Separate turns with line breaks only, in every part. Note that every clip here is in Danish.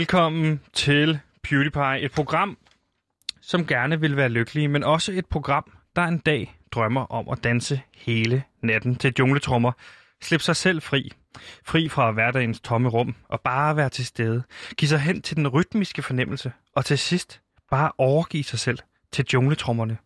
Velkommen til PewDiePie, et program, som gerne vil være lykkelige, men også et program, der en dag drømmer om at danse hele natten til jungletrummer. Slip sig selv fri. Fri fra hverdagens tomme rum og bare være til stede. Giv sig hen til den rytmiske fornemmelse, og til sidst bare overgive sig selv til jungletrummerne.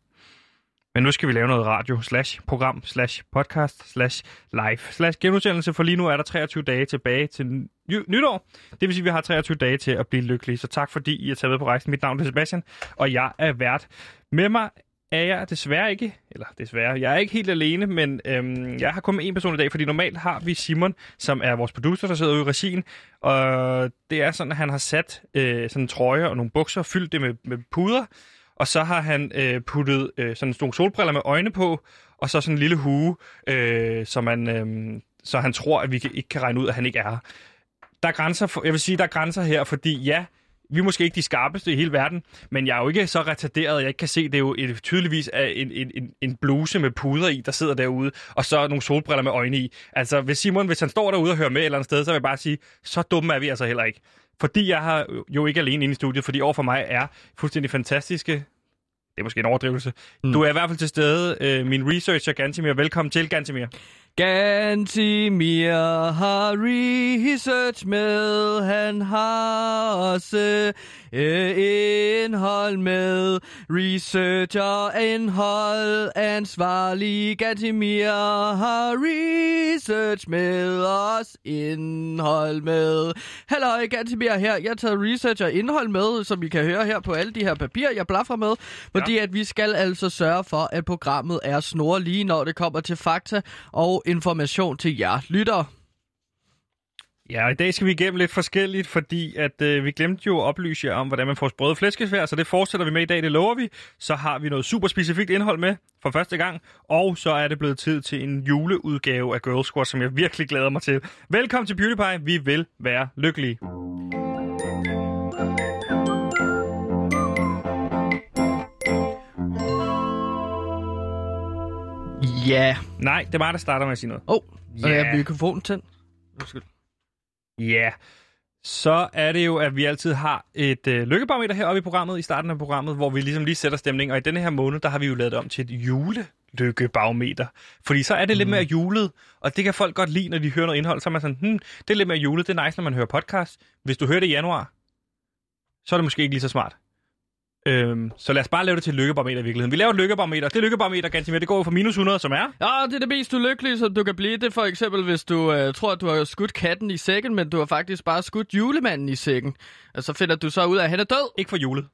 Men nu skal vi lave noget radio, slash program, slash podcast, slash live, slash genudsendelse, for lige nu er der 23 dage tilbage til ny- nytår. Det vil sige, at vi har 23 dage til at blive lykkelige, så tak fordi I har taget med på rejsen. Mit navn er Sebastian, og jeg er vært. Med mig er jeg desværre ikke, eller desværre, jeg er ikke helt alene, men øhm, jeg har kun med en person i dag, fordi normalt har vi Simon, som er vores producer, der sidder ude i regien, og det er sådan, at han har sat øh, sådan en trøje og nogle bukser, fyldt det med, med puder, og så har han øh, puttet øh, sådan nogle solbriller med øjne på, og så sådan en lille hue, øh, så, man, øh, så han tror, at vi kan, ikke kan regne ud, at han ikke er her. Der er grænser for, jeg vil sige, der er grænser her, fordi ja, vi er måske ikke de skarpeste i hele verden, men jeg er jo ikke så retarderet, at jeg ikke kan se, det er jo et, tydeligvis er en, en, en, en bluse med puder i, der sidder derude, og så nogle solbriller med øjne i. Altså, hvis Simon, hvis han står derude og hører med et eller andet sted, så vil jeg bare sige, så dumme er vi altså heller ikke. Fordi jeg har jo ikke alene inde i studiet, fordi overfor mig er fuldstændig fantastiske det er måske en overdrivelse. Mm. Du er i hvert fald til stede. Øh, min researcher, Gantimir. Velkommen til, Gantimir.
Gantimir har research med, han har også øh, indhold med. Research og indhold ansvarlig, Gantimir har research med, os indhold med. Hallo, Gantimir her. Jeg tager research og indhold med, som I kan høre her på alle de her papirer, jeg blaffer med. Fordi ja. at vi skal altså sørge for, at programmet er snor lige, når det kommer til fakta og information til jer lyttere.
Ja, og i dag skal vi igennem lidt forskelligt, fordi at øh, vi glemte jo at oplyse jer om, hvordan man får sprøde flæskesvær, så det fortsætter vi med i dag, det lover vi. Så har vi noget super specifikt indhold med for første gang, og så er det blevet tid til en juleudgave af Girl Squad, som jeg virkelig glæder mig til. Velkommen til Beauty Pie. Vi vil være lykkelige.
Ja.
Nej, det er mig, der starter med at sige noget.
Åh, yeah. oh,
Ja.
yeah. er mikrofonen tændt? Undskyld.
Ja, yeah. så er det jo, at vi altid har et øh, lykkebarometer heroppe i programmet, i starten af programmet, hvor vi ligesom lige sætter stemning. Og i denne her måned, der har vi jo lavet det om til et julelykkebarometer. Fordi så er det
Mm.
lidt mere julet, og det kan folk godt lide, når de hører noget indhold. Så er man sådan, hmm, det er lidt mere julet, det er nice, når man hører podcast. Hvis du hører det i januar, så er det måske ikke lige så smart. Øhm, så lad os bare lave det til et lykkebarometer i virkeligheden. Vi laver et lykkebarometer. Det lykkebarometer, Gantimer, det går jo fra minus 100, som er...
Ja, det er det mest ulykkelige, som du kan blive. Det er for eksempel, hvis du øh, tror, at du har skudt katten i sækken, men du har faktisk bare skudt julemanden i sækken. Og så finder du så ud af, at han er død.
Ikke for julet.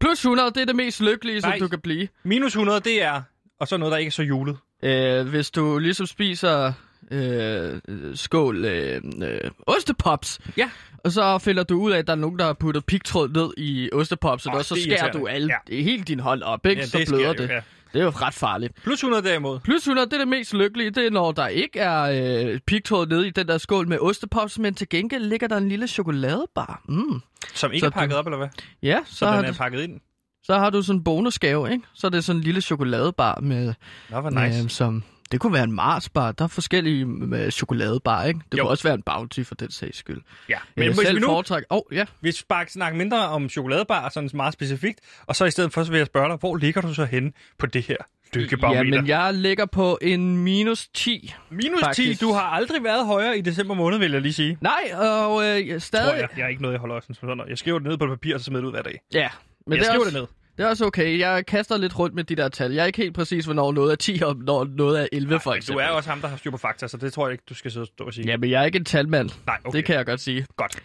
Plus 100, det er det mest lykkelige, som
Nej.
du kan blive.
Minus 100, det er... Og så noget, der ikke er så julet.
Øh, hvis du ligesom spiser øh, skål øh, øh, ostepops,
Ja.
og så finder du ud af, at der er nogen, der har puttet pigtråd ned i ostepopsen,
Åh,
og så
det er
skærer
irriterende.
du alle,
Ja.
ja. hele din hånd op, ikke? så
sker
bløder det.
jo, ja.
Det er jo ret farligt.
Plus 100 derimod.
Plus 100, det er det mest lykkelige, det er, når der ikke er øh, pigtråd nede i den der skål med ostepops, men til gengæld ligger der en lille chokoladebar. Mm.
Som ikke
Så
er pakket
du-
op, eller hvad?
Ja, så,
Så
har
den
du,
er pakket ind.
så har du sådan en bonusgave, ikke? Så er det sådan en lille chokoladebar med,
Nå, hvor nice.
nice. øh, som... Det kunne være en Marsbar. Der er forskellige med chokoladebar, ikke? Det
Jo.
jo. kunne også være en Bounty for den sags skyld.
Ja.
Men
Men
jeg
hvis
selv
vi
nu...
nu
foretrækker... Åh, oh, ja.
hvis vi bare snakker mindre om chokoladebar, sådan meget specifikt, og så i stedet for, så vil jeg spørge dig, hvor ligger du så henne på det her
ja,
lykkebarometer?
men jeg ligger på en minus 10.
Minus 10,
faktisk-
du har aldrig været højere i december måned, vil jeg lige sige.
Nej, og øh, jeg-
Tror
stadig...
jeg. Jeg er ikke noget, jeg holder også sådan. Jeg skriver det ned på et papir, og så smider det ud hver dag.
Ja. Men
Men jeg
det, er
skriver
også,
det ned.
det er også okay. Jeg kaster lidt rundt med de der tal. Jeg er ikke helt præcis, hvornår noget er 10, og når noget er 11, for
Men du
eksempel.
er jo også ham, der har styr på fakta, så det tror jeg ikke, du skal sidde og stå og sige.
Ja, men jeg er ikke en talmand.
Nej, okay.
Okay. Det kan jeg godt sige.
Godt.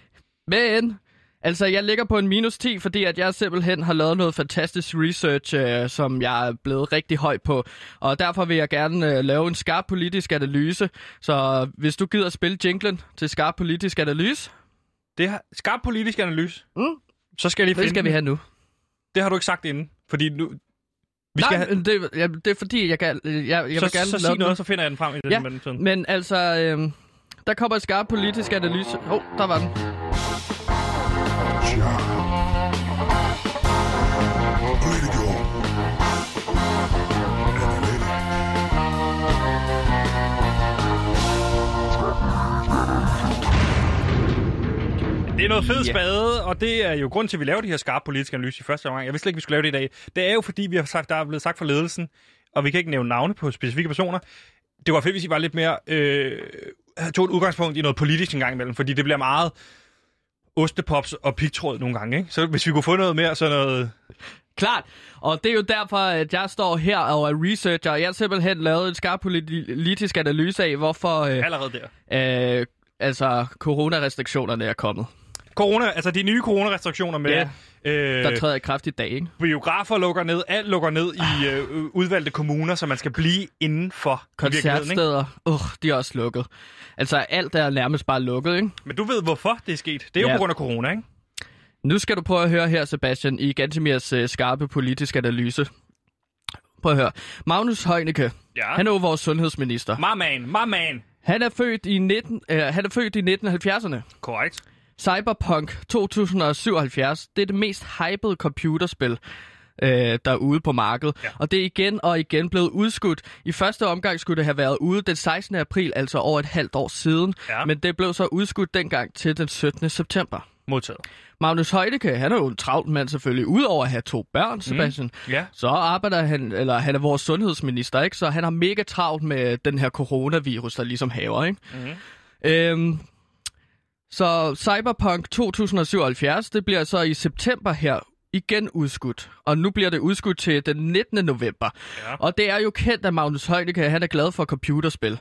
Men, altså jeg ligger på en minus 10, fordi at jeg simpelthen har lavet noget fantastisk research, øh, som jeg er blevet rigtig høj på. Og derfor vil jeg gerne øh, lave en skarp politisk analyse. Så hvis du gider spille jinglen til skarp politisk analyse,
Det har... Skarp politisk analyse.
Mm.
Så skal jeg lige finde
det skal vi
den.
have nu.
Det har du ikke sagt inden, fordi nu... Vi
Nej,
skal have...
men det, ja, det er fordi, jeg, kan, jeg, jeg vil
så,
gerne
så
lave
sig
den.
noget, så finder jeg den frem i den
Ja.
mellemtiden.
Men altså, øh, der kommer en skarp politisk analyse. Åh, oh, der var den.
Political. Analytic.
Det er noget fedt
Ja.
spade, og det er jo grund til, at vi laver de her skarpe politiske analyser i første omgang. Jeg vidste slet ikke, vi skulle lave det i dag. Det er jo fordi, vi har sagt, der er blevet sagt fra ledelsen, og vi kan ikke nævne navne på specifikke personer. Det var fedt, hvis I var lidt mere... Øh, tog et udgangspunkt i noget politisk en gang imellem, fordi det bliver meget ostepops og pigtråd nogle gange, ikke? Så hvis vi kunne få noget mere sådan noget...
Klart. Og det er jo derfor, at jeg står her og er researcher, og jeg har simpelthen lavet en skarp politi- politisk analyse af, hvorfor
Allerede der.
øh, øh, altså, coronarestriktionerne er kommet.
Corona, altså de nye coronarestriktioner med...
Ja,
øh,
Der træder i kraft i dag, ikke?
biografer lukker ned, alt lukker ned i øh, udvalgte kommuner, så man skal blive inden for i virkeligheden, ikke?
Koncertsteder, uh, de er også lukket. Altså, alt er nærmest bare lukket, ikke?
Men du ved, hvorfor det er sket. Det er jo
Ja.
på grund af corona, ikke?
Nu skal du prøve at høre her, Sebastian, i Gantemirs øh, skarpe politiske analyse. Prøv at høre. Magnus Heunicke,
Ja.
han er jo vores sundhedsminister.
My man, my man.
Han er født i, 19, øh, han er født i 1970'erne.
Korrekt.
Cyberpunk 2077, det er det mest hypede computerspil øh, der er ude på markedet.
Ja.
Ja. Og det er igen og igen blevet udskudt. I første omgang skulle det have været ude den 16. april, altså over et halvt år siden.
Ja.
Men det blev så udskudt dengang til den 17. september.
Modtaget.
Magnus Heunicke, han er jo en travlt mand selvfølgelig, udover at have to børn, Sebastian. Mm.
Ja.
Så arbejder han, eller han er vores sundhedsminister, ikke? Så han har mega travlt med den her coronavirus, der ligesom haver, ikke?
Mm-hmm.
Mm. Øhm, så Cyberpunk 2077, det bliver så i september her igen udskudt. Og nu bliver det udskudt til den 19. november.
Ja.
Og det er jo kendt, at Magnus Heunicke, han er glad for computerspil.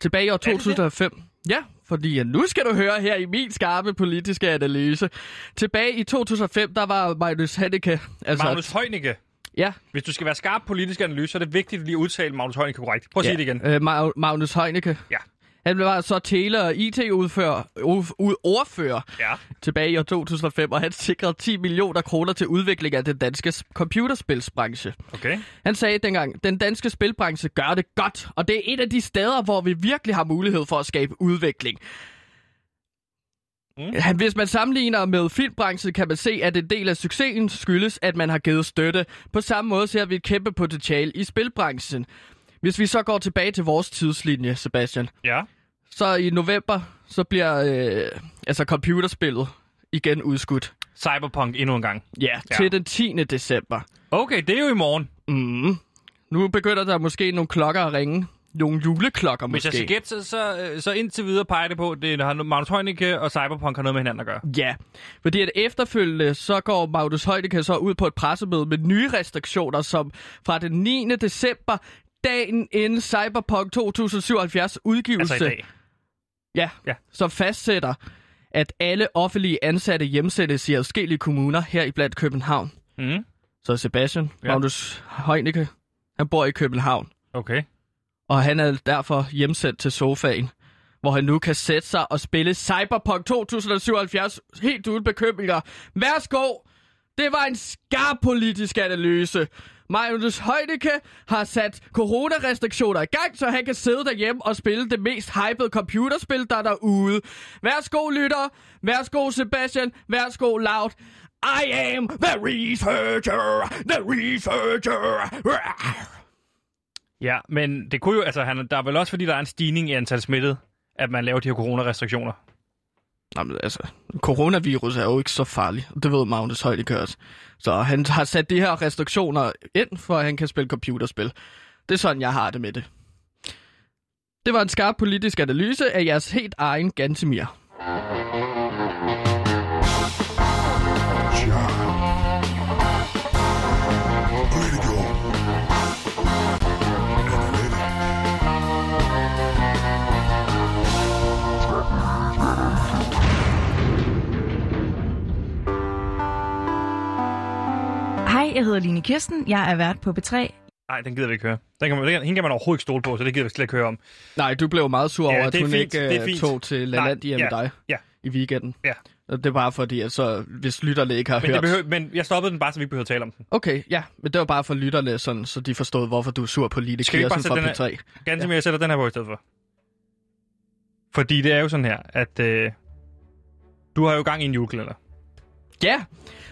Tilbage i år
det det?
2005. Ja, fordi at nu skal du høre her i min skarpe politiske analyse. Tilbage i 2005, der var Magnus Heunicke... Altså,
Magnus Heunicke.
Ja,
Hvis du skal være skarp politisk analyse, så er det vigtigt lige at udtale Magnus Heunicke korrekt. Prøv at sige det igen.
Øh, Ma- Magnus Heunicke.
Ja.
Han var så tele- og IT-ordfører uf- u- ordfører
Ja.
tilbage i år 2005, og han sikrede 10 millioner kroner til udvikling af den danske s- computerspilsbranche.
Okay.
Han sagde dengang, den danske spilbranche gør det godt, og det er et af de steder, hvor vi virkelig har mulighed for at skabe udvikling.
Mm.
Han, hvis man sammenligner med filmbranchen, kan man se, at en del af succesen skyldes, at man har givet støtte. På samme måde ser vi et kæmpe potentiale i spilbranchen. Hvis vi så går tilbage til vores tidslinje, Sebastian,
Ja.
så i november, så bliver øh, altså computerspillet igen udskudt.
Cyberpunk endnu en gang.
Ja,
Ja.
ja. til den 10. december.
Okay, det er jo i morgen.
Mm. Nu begynder der måske nogle klokker at ringe. Nogle juleklokker
Hvis jeg
måske.
skal gætte, så, så, så indtil videre peger det på, at det har Magnus Heunicke og Cyberpunk har noget med hinanden at gøre.
Ja, fordi at efterfølgende så går Magnus Heunicke så ud på et pressemøde med nye restriktioner, som fra den 9. december, dagen inden Cyberpunk 2077 udgivelse,
Altså i dag.
Ja,
Ja.
ja. som fastsætter, at alle offentlige ansatte hjemsendes i adskillige kommuner, heriblandt København.
Mm.
Så Sebastian,
Ja.
ja. Magnus Heunicke, han bor i København.
Okay.
og han er derfor hjemsendt til sofaen, hvor han nu kan sætte sig og spille Cyberpunk 2077 helt uden bekymringer. Værsgo! Det var en skarp politisk analyse. Magnus Heunicke har sat coronarestriktioner i gang, så han kan sidde derhjemme og spille det mest hypede computerspil, der er derude. Værsgo, lytter. Værsgo, Sebastian. Værsgo, Loud. I am the researcher. The researcher.
Ja, men det kunne jo, altså han, der er vel også, fordi der er en stigning i antal smittede, at man laver de her coronarestriktioner.
Jamen, altså, coronavirus er jo ikke så farlig. Det ved Magnus Højdekør også. Så han har sat de her restriktioner ind, for at han kan spille computerspil. Det er sådan, jeg har det med det. Det var en skarp politisk analyse af jeres helt egen Gantemir.
Ja. Politiker. Analytiker.
Hej, jeg hedder Line Kirsten. Jeg er vært på B3.
Nej, den gider vi ikke høre. Den kan man, den, hende kan man overhovedet ikke stole på, så det gider vi slet ikke høre om.
Nej, du blev meget sur
Ja,
ja, over, at
det er
hun
fint,
ikke
det er
øh,
fint.
tog til
Nej,
Lalandia med
ja,
dig
ja.
i weekenden.
Ja.
Og Det er bare fordi, at så, hvis lytterne ikke har
Men, det
hørt...
behøver, men jeg stoppede den bare, så vi ikke behøver at tale om den.
Okay, ja, men det var bare for lytterne, sådan, så de forstod, hvorfor du er sur på Line
Skal vi ikke bare
Kirsten fra
sætte
P3.
Ganske mere, jeg sætter den her på i stedet for. Fordi det er jo sådan her, at øh, du har jo gang i en julekalender.
Ja,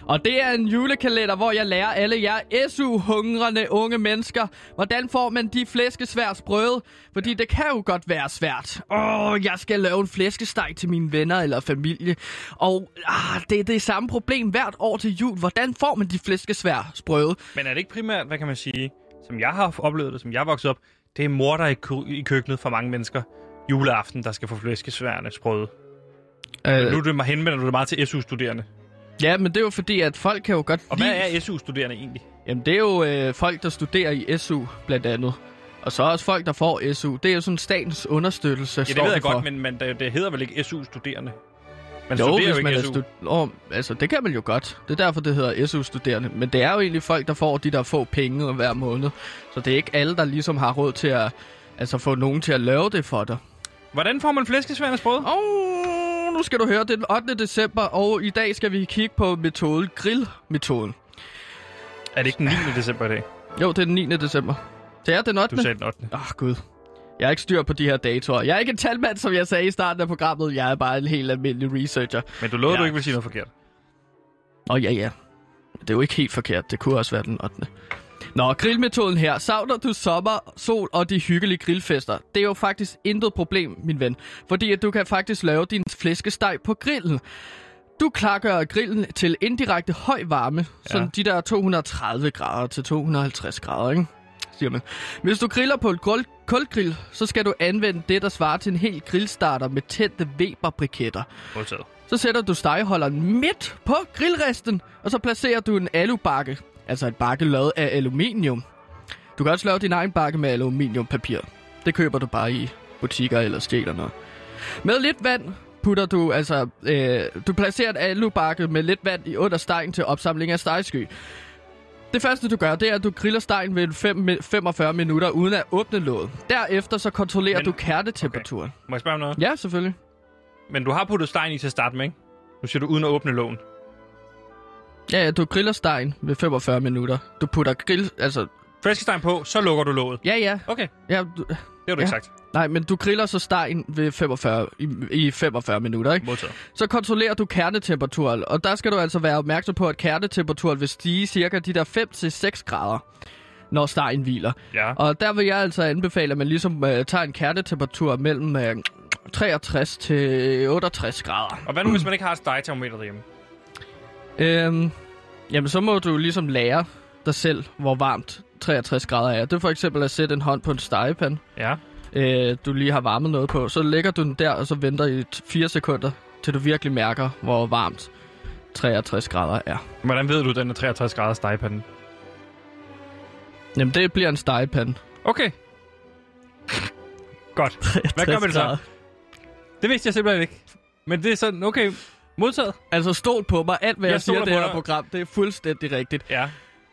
og det er en julekalender, hvor jeg lærer alle jer SU-hungrende unge mennesker, hvordan får man de flæskesvær sprøde, fordi det kan jo godt være svært. Åh, jeg skal lave en flæskesteg til mine venner eller familie, og ah, det er det samme problem hvert år til jul. Hvordan får man de flæskesvær sprøde?
Men er det ikke primært, hvad kan man sige, som jeg har oplevet det, som jeg er vokset op, det er mor, der er i, kø- i køkkenet for mange mennesker juleaften, der skal få flæskesværende sprøde. Øh. Nu er det mig henvender du dig meget til SU-studerende.
Ja, men det er jo fordi, at folk kan jo godt
Og
lide...
hvad er SU-studerende egentlig?
Jamen, det er jo øh, folk, der studerer i SU, blandt andet. Og så også folk, der får SU. Det er jo sådan statens understøttelse,
Ja, det ved jeg godt, men, men det, det hedder vel ikke SU-studerende? Man
jo,
Altså, studerer
hvis
jo ikke
man er
SU.
stud- oh, altså, det kan man jo godt. Det er derfor, det hedder SU-studerende. Men det er jo egentlig folk, der får de der få penge hver måned. Så det er ikke alle, der ligesom har råd til at altså, få nogen til at lave det for dig.
Hvordan får man flæskesværende sprøde?
Og nu skal du høre, det er den 8. december, og i dag skal vi kigge på metoden, grillmetoden.
Er det ikke den 9. december i dag?
Jo, det er den 9. december. Det er den 8.
Du sagde den 8.
Åh, oh, Gud. Jeg har ikke styr på de her datoer. Jeg er ikke en talmand, som jeg sagde i starten af programmet. Jeg er bare en helt almindelig researcher.
Men du lovede,
Ja.
ja. du ikke ville sige noget forkert.
Nå, ja, ja. Det er jo ikke helt forkert. Det kunne også være den 8. Nå, grillmetoden her. Savner du sommer, sol og de hyggelige grillfester? Det er jo faktisk intet problem, min ven. Fordi at du kan faktisk lave din flæskesteg på grillen. Du klargør grillen til indirekte høj varme, ja. sådan de der 230 grader til 250 grader, ikke? siger man. Hvis du griller på et kul- kulgrill, så skal du anvende det, der svarer til en hel grillstarter med tændte Weber-briketter.
Modtaget.
Så sætter du stegeholderen midt på grillresten, og så placerer du en alubakke, altså et bakke lavet af aluminium. Du kan også lave din egen bakke med aluminiumpapir. Det køber du bare i butikker eller stjæler noget. Med lidt vand putter du altså, øh, du placerer en alubakke med lidt vand i under stegen til opsamling af stegsky. Det første du gør, det er, at du griller stegen ved en fem- 45 minutter uden at åbne låget. Derefter så kontrollerer
Men-
Men, du kærtetemperaturen.
Må jeg spørge om noget?
Okay. Ja, selvfølgelig.
Men du har puttet stegen i til at starte med, ikke? Nu siger du uden at åbne lågen.
Ja, ja, du griller stegen ved 45 minutter. Du putter grill... Altså,
Flæskestegen på, så lukker du låget.
ja, ja.
Okay,
ja du,
det har du ja. ikke
Ja.
sagt.
nej, men du griller så stegen ved 45, i, i 45 minutter, ikke?
Modtaget.
Så kontrollerer du kernetemperaturen, og der skal du altså være opmærksom på, at kernetemperaturen vil stige cirka de der 5-6 grader, når stegen hviler.
Ja.
Og der vil jeg altså anbefale, at man ligesom øh, tager en kernetemperatur mellem øh, 63 til 68 grader.
Og hvad nu, hvis man ikke har et stegetermometer derhjemme?
Øhm, jamen, så må du ligesom lære dig selv, hvor varmt 63 grader er. Det er for eksempel at sætte en hånd på en stegepan,
Ja.
øh, du lige har varmet noget på. Så lægger du den der, og så venter i 4 sekunder, til du virkelig mærker, hvor varmt 63 grader er.
Hvordan ved du, den er 63 grader stegepanden?
Jamen, det bliver en stegepan.
Okay. Godt. Hvad gør man
60 grader.
så? Det vidste jeg simpelthen ikke. Men det er sådan, okay, modtaget.
Altså, stol på mig. Alt, hvad jeg,
Jeg
jeg siger i
stoler
det
på
her
dig.
program, det er fuldstændig rigtigt.
Ja.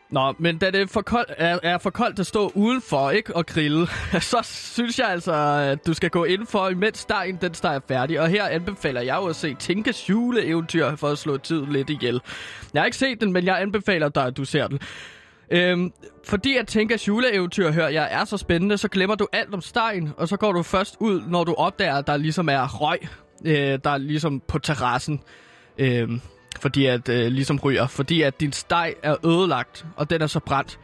Nå, men da det er for koldt, er, er for koldt at stå udenfor ikke og grille, så synes jeg altså, at du skal gå indenfor, imens dejen den steger færdig. Og her anbefaler jeg jo at se Tinkes juleeventyr for at slå tiden lidt ihjel. Jeg har ikke set den, men jeg anbefaler dig, at du ser den. Øhm, fordi at Tinkas juleeventyr, hører jeg, er så spændende, så glemmer du alt om stegen, og så går du først ud, når du opdager, at der ligesom er røg, øh, der er ligesom på terrassen. Øhm, fordi at, øh, ligesom ryger, fordi at din steg er ødelagt, og den er så brændt.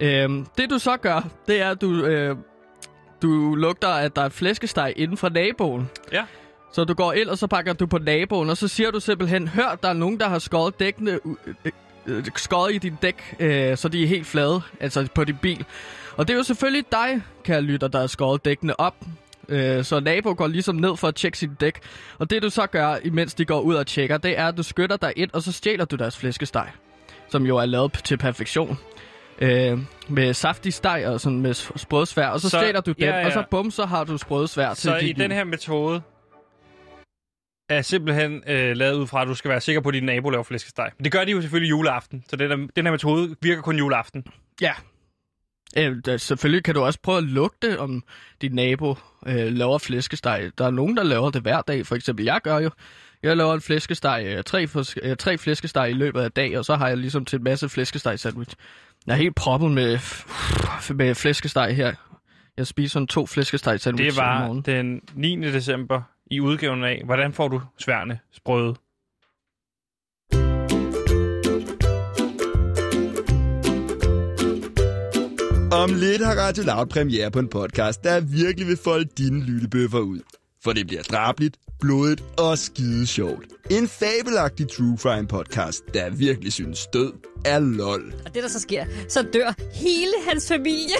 Øhm, det du så gør, det er, at du, øh, du lugter, at der er flæskesteg inden fra naboen.
Ja.
Så du går ind, og så pakker du på naboen, og så siger du simpelthen, hør, der er nogen, der har skåret dækkene, u- øh, øh, skåret i din dæk, øh, så de er helt flade, altså på din bil. Og det er jo selvfølgelig dig, kære lytter, der har skåret dækkene op. Øh, så nabo går ligesom ned for at tjekke sin dæk. Og det du så gør, imens de går ud og tjekker, det er, at du skytter dig ind, og så stjæler du deres flæskesteg. Som jo er lavet p- til perfektion. Øh, med saftig steg og sådan med s- sprødsvær. Og så,
Så-
så stjæler du den,
ja, ja.
og så bum, så har du sprødsvær
Så
til
i
dit
den
liv.
her metode er simpelthen øh, lavet ud fra, at du skal være sikker på, at din nabo laver flæskesteg. Men det gør de jo selvfølgelig juleaften, så den, her- den her metode virker kun juleaften.
Ja. Øh, da, selvfølgelig kan du også prøve at lugte, om din nabo øh, laver flæskesteg. Der er nogen, der laver det hver dag. For eksempel, jeg gør jo. Jeg laver en flæskesteg, øh, tre, fors- øh, tre flæskesteg i løbet af dag, og så har jeg ligesom til en masse flæskesteg sandwich. Jeg er helt proppet med, med flæskesteg her. Jeg spiser sådan to flæskesteg sandwich
Det
om
var
morgenen.
den 9. december i udgaven af, hvordan får du sværne sprøde?
Om lidt har Radio Loud premiere på en podcast, der virkelig vil folde dine lyttebøffer ud. For det bliver drabligt, blodigt og skide sjovt. En fabelagtig true crime podcast, der virkelig synes død er lol.
Og det, der så sker, så dør hele hans familie.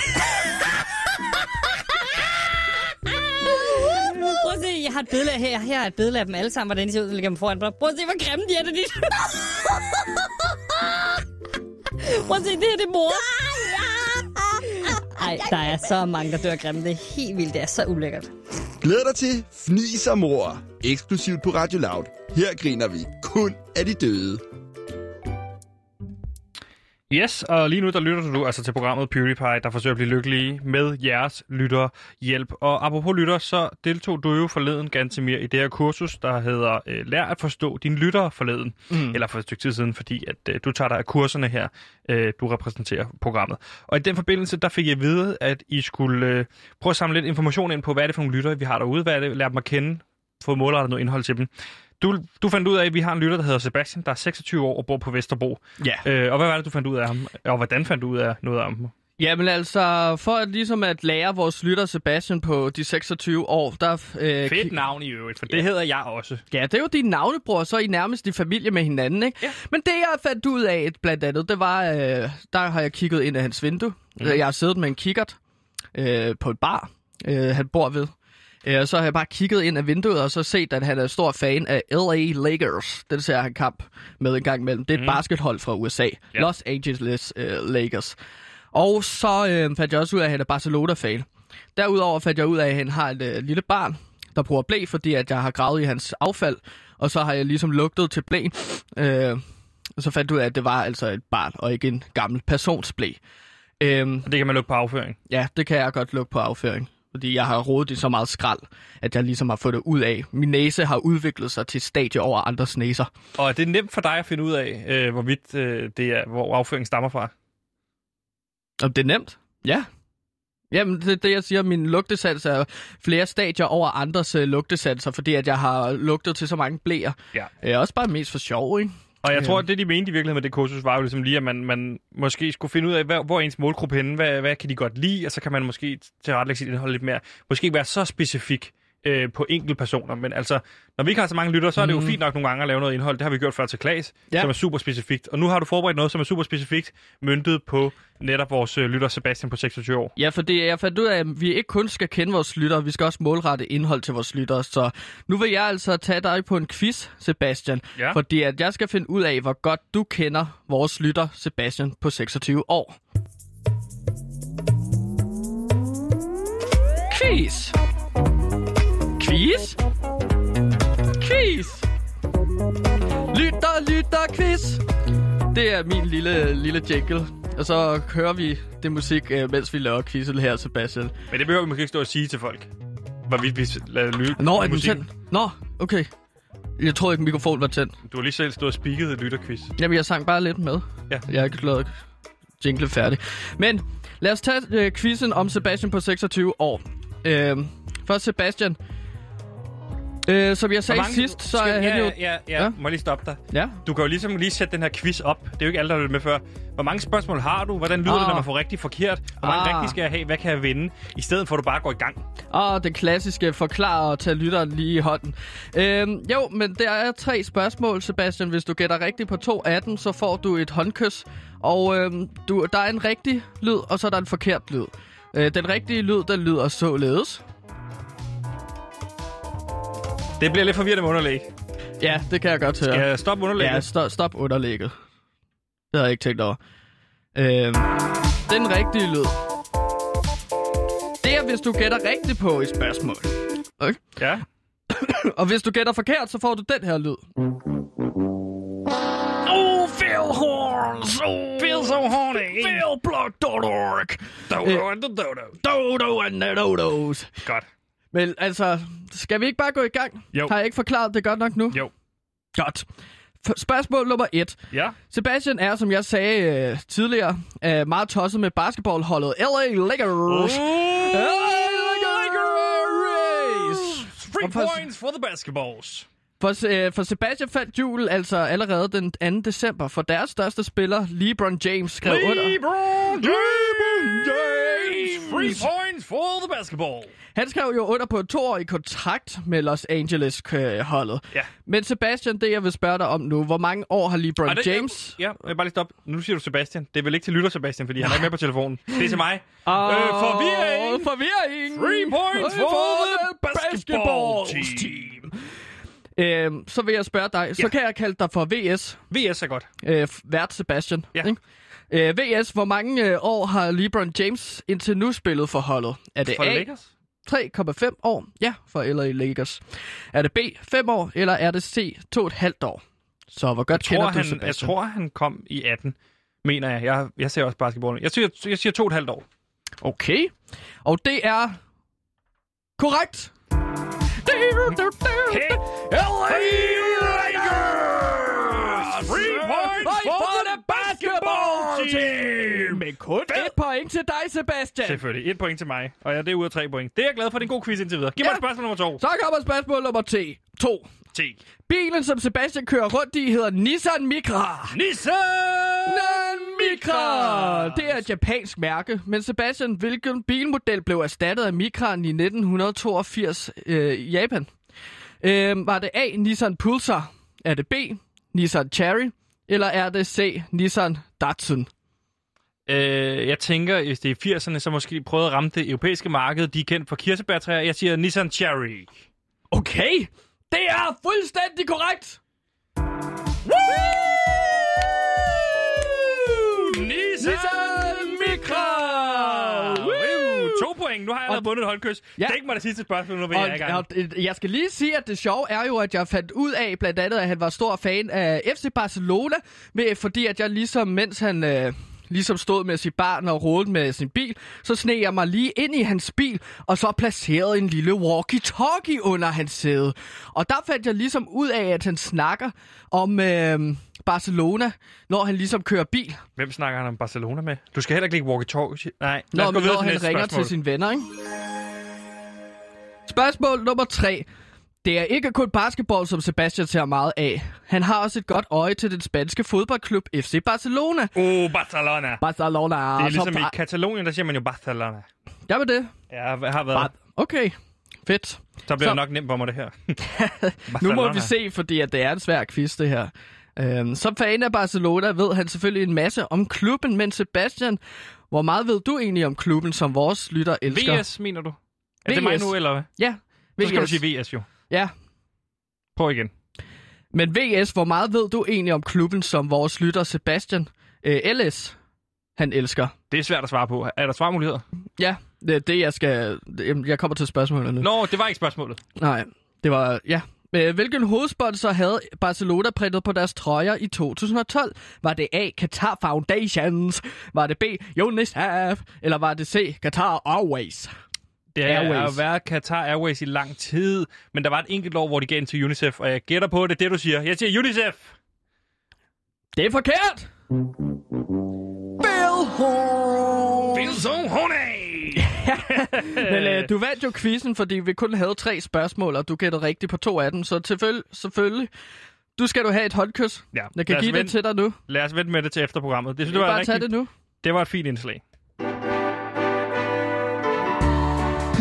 Prøv at se, jeg har et billede af her. Her er et billede af dem alle sammen, hvordan de ser ud, så ligger dem foran mig. Prøv at se, hvor grimme de er, det dit. Prøv at se, det her det er mor. Ej, der er så mange, der dør grimme. Det er helt vildt. Det er så ulækkert.
Glæd dig til Fnis og Mor, eksklusivt på Radio Loud. Her griner vi kun af de døde.
Yes, og lige nu der lytter du altså til programmet PewDiePie, der forsøger at blive lykkelige med jeres lytter hjælp. Og apropos lytter, så deltog du jo forleden ganske mere i det her kursus, der hedder øh, Lær at forstå dine lyttere forleden. Mm. Eller for et stykke tid siden, fordi at øh, du tager dig af kurserne her, øh, du repræsenterer programmet. Og i den forbindelse, der fik jeg at vide, at I skulle øh, prøve at samle lidt information ind på, hvad er det for nogle lyttere, vi har derude, hvad er det, lære dem at kende, få målrettet noget indhold til dem. Du, du fandt ud af, at vi har en lytter, der hedder Sebastian, der er 26 år og bor på Vesterbro.
Ja.
Øh, og hvad var det, du fandt ud af ham? Og hvordan fandt du ud af noget af ham?
Jamen altså, for at ligesom at lære vores lytter Sebastian på de 26 år, der... Øh,
Fedt navn i øvrigt, for det hedder jeg også.
Ja, det er jo din navnebror, så er I nærmest i familie med hinanden, ikke? Ja. Men det, jeg fandt ud af, blandt andet, det var, øh, der har jeg kigget ind af hans vindue. Mm. Jeg har siddet med en kikkert øh, på et bar, øh, han bor ved. Øh, og så har jeg bare kigget ind af vinduet, og så set, at han er stor fan af LA Lakers. Den ser han kamp med en gang imellem. Det er et mm. baskethold fra USA.
Ja.
Los Angeles øh, Lakers. Og så øh, fandt jeg også ud af, at han er Barcelona-fan. Derudover fandt jeg ud af, at han har et øh, lille barn, der bruger blæ, fordi at jeg har gravet i hans affald. Og så har jeg ligesom lugtet til blæen. Øh, og så fandt jeg ud af, at det var altså et barn, og ikke en gammel persons blæ. Øh,
Og det kan man lukke på afføring.
Ja, det kan jeg godt lukke på afføring. Fordi jeg har rodet i så meget skrald, at jeg ligesom har fået det ud af. Min næse har udviklet sig til stadie over andres næser.
Og er det nemt for dig at finde ud af, øh, hvorvidt øh, det er, hvor afføringen stammer fra?
Om det er nemt? Ja. Jamen, det er det, jeg siger. Min lugtesans er flere stadier over andres øh, lugtesanser, fordi at jeg har lugtet til så mange blæer.
Ja.
Øh, også bare mest for sjov, ikke?
Og jeg
Ja.
tror, at det, de mente i virkeligheden med det kursus, var jo ligesom lige, at man, man måske skulle finde ud af, hvor, hvor er ens målgruppe henne, hvad, hvad kan de godt lide, og så kan man måske tilrettelægge sit indhold lidt mere. Måske ikke være så specifik øh, på enkelte personer, men altså, når vi ikke har så mange lyttere, så er det jo fint nok nogle gange at lave noget indhold. Det har vi gjort før til Klaas,
Mhm. Ja.
ja. som er super specifikt. Og nu har du forberedt noget, som er super specifikt, myntet på netop vores øh, lytter Sebastian på 26 år.
Ja, fordi jeg fandt ud af, at vi ikke kun skal kende vores lyttere, vi skal også målrette indhold til vores lyttere. Så nu vil jeg altså tage dig på en quiz, Sebastian.
Ja.
Fordi at jeg skal finde ud af, hvor godt du kender vores lytter, Sebastian, på 26 år. Quiz! Quiz! Quiz! Lytter, lytter, quiz! Det er min lille, lille jingle. Og så hører vi det musik, øh, mens vi laver quizzen her, Sebastian.
Men det behøver vi måske ikke stå og sige til folk, hvorvidt vi lader lytte
Nå, er den
musikken.
tændt? Nå, okay. Jeg troede ikke, mikrofonen var tændt.
Du har lige selv stået og speaket et lytterquiz.
Jamen, jeg sang bare lidt med.
Ja.
Jeg har ikke lavet jingle færdig. Men lad os tage øh, quizzen om Sebastian på 26 år. Øh, først Sebastian. Øh, som jeg sagde mange, sidst, så er
Skal-
han
ja,
jo...
ja, ja, ja.
Ja.
ja. Må jeg lige stoppe dig?
Ja.
Du kan jo ligesom lige sætte den her quiz op. Det er jo ikke alle, der har lyttet med før. Hvor mange spørgsmål har du? Hvordan lyder
Ah.
det, når man får rigtig forkert? Hvor mange
Ah.
rigtige skal jeg have? Hvad kan jeg vinde? I stedet for, at du bare går i gang.
Og den klassiske forklare og tage lytteren lige i hånden. Øhm, jo, men der er tre spørgsmål, Sebastian. Hvis du gætter rigtigt på to af dem, så får du et håndkys. Og øhm, du, der er en rigtig lyd, og så er der en forkert lyd. Øh, den rigtige lyd, den lyder således.
Det bliver lidt forvirrende med underlæg.
Ja, det kan jeg godt høre.
Ja. Stop underlægget.
Ja,
Yes.
stop, stop underlægget. Det havde jeg ikke tænkt over. Øhm, den rigtige lyd. Det er, hvis du gætter rigtigt på et spørgsmål. Okay.
Ja.
Og hvis du gætter forkert, så får du den her lyd. Oh, Phil Horns! Oh,
Feel so horny.
Philblog.org!
Dodo and the dodo.
Dodo and the Dodos.
Godt.
Men altså, skal vi ikke bare gå i gang?
Jo.
Har jeg ikke forklaret det godt nok nu?
Jo.
Godt. F- spørgsmål nummer et.
Ja.
Sebastian er, som jeg sagde øh, tidligere, øh, meget tosset med basketballholdet LA Lakers. LA Lakers!
Three
Og for-
points for the basketballs.
For, øh, for Sebastian fandt julen altså allerede den 2. december, for deres største spiller, LeBron James, skrev under.
LeBron James. Three
Jones,
points for the basketball.
han skrev jo under på en toårig kontrakt med Los Angeles-holdet.
Ja.
Men Sebastian, det jeg vil spørge dig om nu, hvor mange år har LeBron
Og det-
James?
Ja, jeg vil bare lige stoppe. Nu siger du Sebastian. Det er vel ikke til lytter, Sebastian, fordi han er ikke med på telefonen. Det er til mig.
Og
Øh, forvirring!
Forvirring!
Three points
Ah. Øh,
for the basketball
basketball
team.
Øhm, så vil jeg spørge dig, så
Ja.
kan jeg kalde dig for VS,
VS er godt.
øh, f- vært Sebastian.
Ja.
ikke? Øh, VS, hvor mange øh, år har LeBron James indtil nu spillet for holdet? Er det
For
A,
Lakers?
3,5 år? Ja, for LA Lakers. Er det B, 5 år, eller er det C, 2,5 år? Så hvor
Jeg
godt
tror,
kender
han, jeg
du Sebastian?
tror, han kom i 18, mener jeg. Jeg, jeg ser også basketball. Jeg siger, jeg siger to og et halvt år.
Okay. Og det er... Korrekt!
Hey,
LA
Lakers! Three points for the basketball team!
Med kun
Fed.
et point til dig, Sebastian.
Selvfølgelig. Et point til mig. Og ja, det er ud af tre point. Det er jeg glad for. Det er en god quiz indtil videre. Giv mig
Ja.
et spørgsmål nummer to.
Så kommer spørgsmål nummer T. 2.
T.
Bilen, som Sebastian kører rundt i, hedder Nissan Micra.
Nissan!
Nissan Micra! Det er et japansk mærke. Men Sebastian, hvilken bilmodel blev erstattet af Micraen i 1982 øh, i Japan? Øh, var det A. Nissan Pulsar? Er det B. Nissan Cherry? Eller er det C. Nissan Datsun?
Øh, jeg tænker, hvis det er 80'erne, så måske prøvede at ramme det europæiske marked. De er kendt for kirsebærtræer. Jeg siger Nissan Cherry.
Okay, det er fuldstændig korrekt!
Nissan,
Nissan Micra!
Woo! To point. Nu har jeg allerede vundet et håndkys.
Ja.
Ja. Dæk mig det sidste spørgsmål, nu vil jeg er i
Og,
gang.
og, øh, jeg skal lige sige, at det sjove er jo, at jeg fandt ud af, blandt andet, at han var stor fan af FC Barcelona, med, fordi at jeg ligesom, mens han øh, ligesom stod med sit barn og rodede med sin bil, så sneg jeg mig lige ind i hans bil, og så placerede en lille walkie-talkie under hans sæde. Og der fandt jeg ligesom ud af, at han snakker om øh, Barcelona, når han ligesom kører bil,
Hvem snakker han om Barcelona med? Du skal heller ikke lægge walkie-talkie. Nej, lad
når,
os gå videre
når
til
han
næste
ringer
spørgsmål.
til sine venner, ikke? Spørgsmål nummer tre. Det er ikke kun basketball, som Sebastian ser meget af. Han har også et godt øje til den spanske fodboldklub FC Barcelona.
Oh, Barcelona.
Barcelona
Det er ligesom i Katalonien, der siger man jo Barcelona.
Ja, med det.
Jeg har været...
Bar- Okay, fedt.
Så bliver
Så-
det nok nemt for mig, det her.
Nu må
Barcelona.
vi se, fordi at det er en svær quiz, det her. Øhm, som fan af Barcelona ved han selvfølgelig en masse om klubben, men Sebastian, hvor meget ved du egentlig om klubben, som vores lytter elsker?
VS, mener du? Er det mig
VS.
nu, eller hvad?
Ja,
Så skal du sige VS, jo.
Ja,
Prøv igen.
Men VS, hvor meget ved du egentlig om klubben, som vores lytter Sebastian øh, LS, han elsker?
Det er svært at svare på. Er der svarmuligheder?
Ja, det er det, jeg skal... Jamen, Jeg kommer til spørgsmålet nu.
Nå, det var ikke spørgsmålet.
Nej, det var... Ja. Øh, Hvilken hovedsponsor havde Barcelona printet på deres trøjer i 2012? Var det A. Qatar Foundations? Var det B. UNICEF? Eller var det C. Qatar Always?
Det
Airways.
har været Qatar Airways i lang tid, men der var et enkelt år, hvor de gav den til UNICEF, og jeg gætter på, at det er det, du siger. Jeg siger UNICEF!
Det er forkert! Bill Horn!
Wilson Honey!
Men øh, du vandt jo quizzen, fordi vi kun havde tre spørgsmål, og du gættede rigtigt på to af dem. Så selvfølgelig, selvfølgelig du skal du have et håndkys.
Ja,
Jeg kan
lad os
give det
vente.
til dig nu. Det
Lad os vente med det til efterprogrammet. Det, synes,
er
det, var,
bare
en
rigtig... tage det
rigtig...
nu.
det var et fint indslag.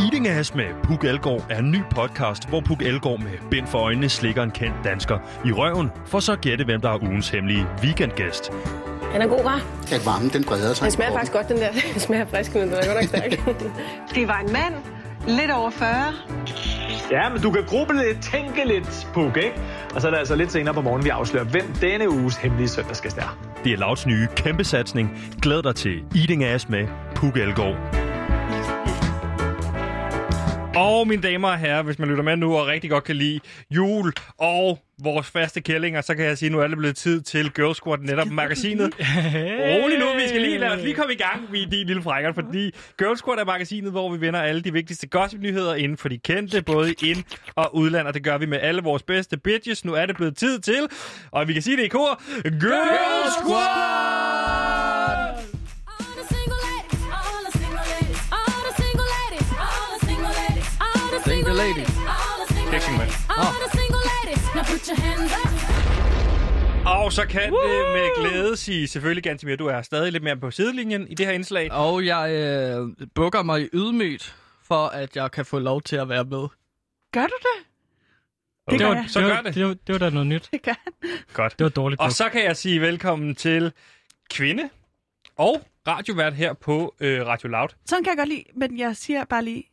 Eating Ass med Puk Elgård er en ny podcast, hvor Puk Elgård med bind for øjnene slikker en kendt dansker i røven, for så at gætte, hvem der er ugens hemmelige weekendgæst.
Den er god, var.
at varmen den breder sig.
Den smager faktisk godt, den der. Den smager frisk, men den er godt nok stærk.
Det var en mand, lidt over 40,
Ja, men du kan gruble lidt, tænke lidt, Puk, ikke? Og så er det altså lidt senere på morgenen, vi afslører, hvem denne uges hemmelige søndagsgæst er.
Det er Lauts nye kæmpe satsning. Glæd dig til Eating Ass med Puk Elgård.
Og mine damer og herrer, hvis man lytter med nu og rigtig godt kan lide jul og vores faste kællinger, så kan jeg sige, at nu er det blevet tid til Girl Squad netop magasinet. Rolig nu, vi skal lige lade
Øh.
os lige komme i gang i din lille frækker, fordi Girl Squad er magasinet, hvor vi vender alle de vigtigste gossip-nyheder inden for de kendte, både ind- og udland, og det gør vi med alle vores bedste bitches. Nu er det blevet tid til, og vi kan sige det i kor, Girl Squad!
Single ladies.
Det er ikke sådan, man.
Åh.
Og så kan Woo! det med glæde sige, selvfølgelig Gantimir, du er stadig lidt mere på sidelinjen i det her indslag.
Og jeg øh, bukker mig ydmygt, for at jeg kan få lov til at være med.
Gør du det?
Okay.
gør
var,
jeg.
så
det,
gør
var,
det.
det, var, det var da noget nyt.
Det gør han.
Godt.
Det var dårligt.
Og så kan jeg sige velkommen til kvinde og radiovært her på øh, Radio Loud.
Sådan kan jeg godt lide, men jeg siger bare lige,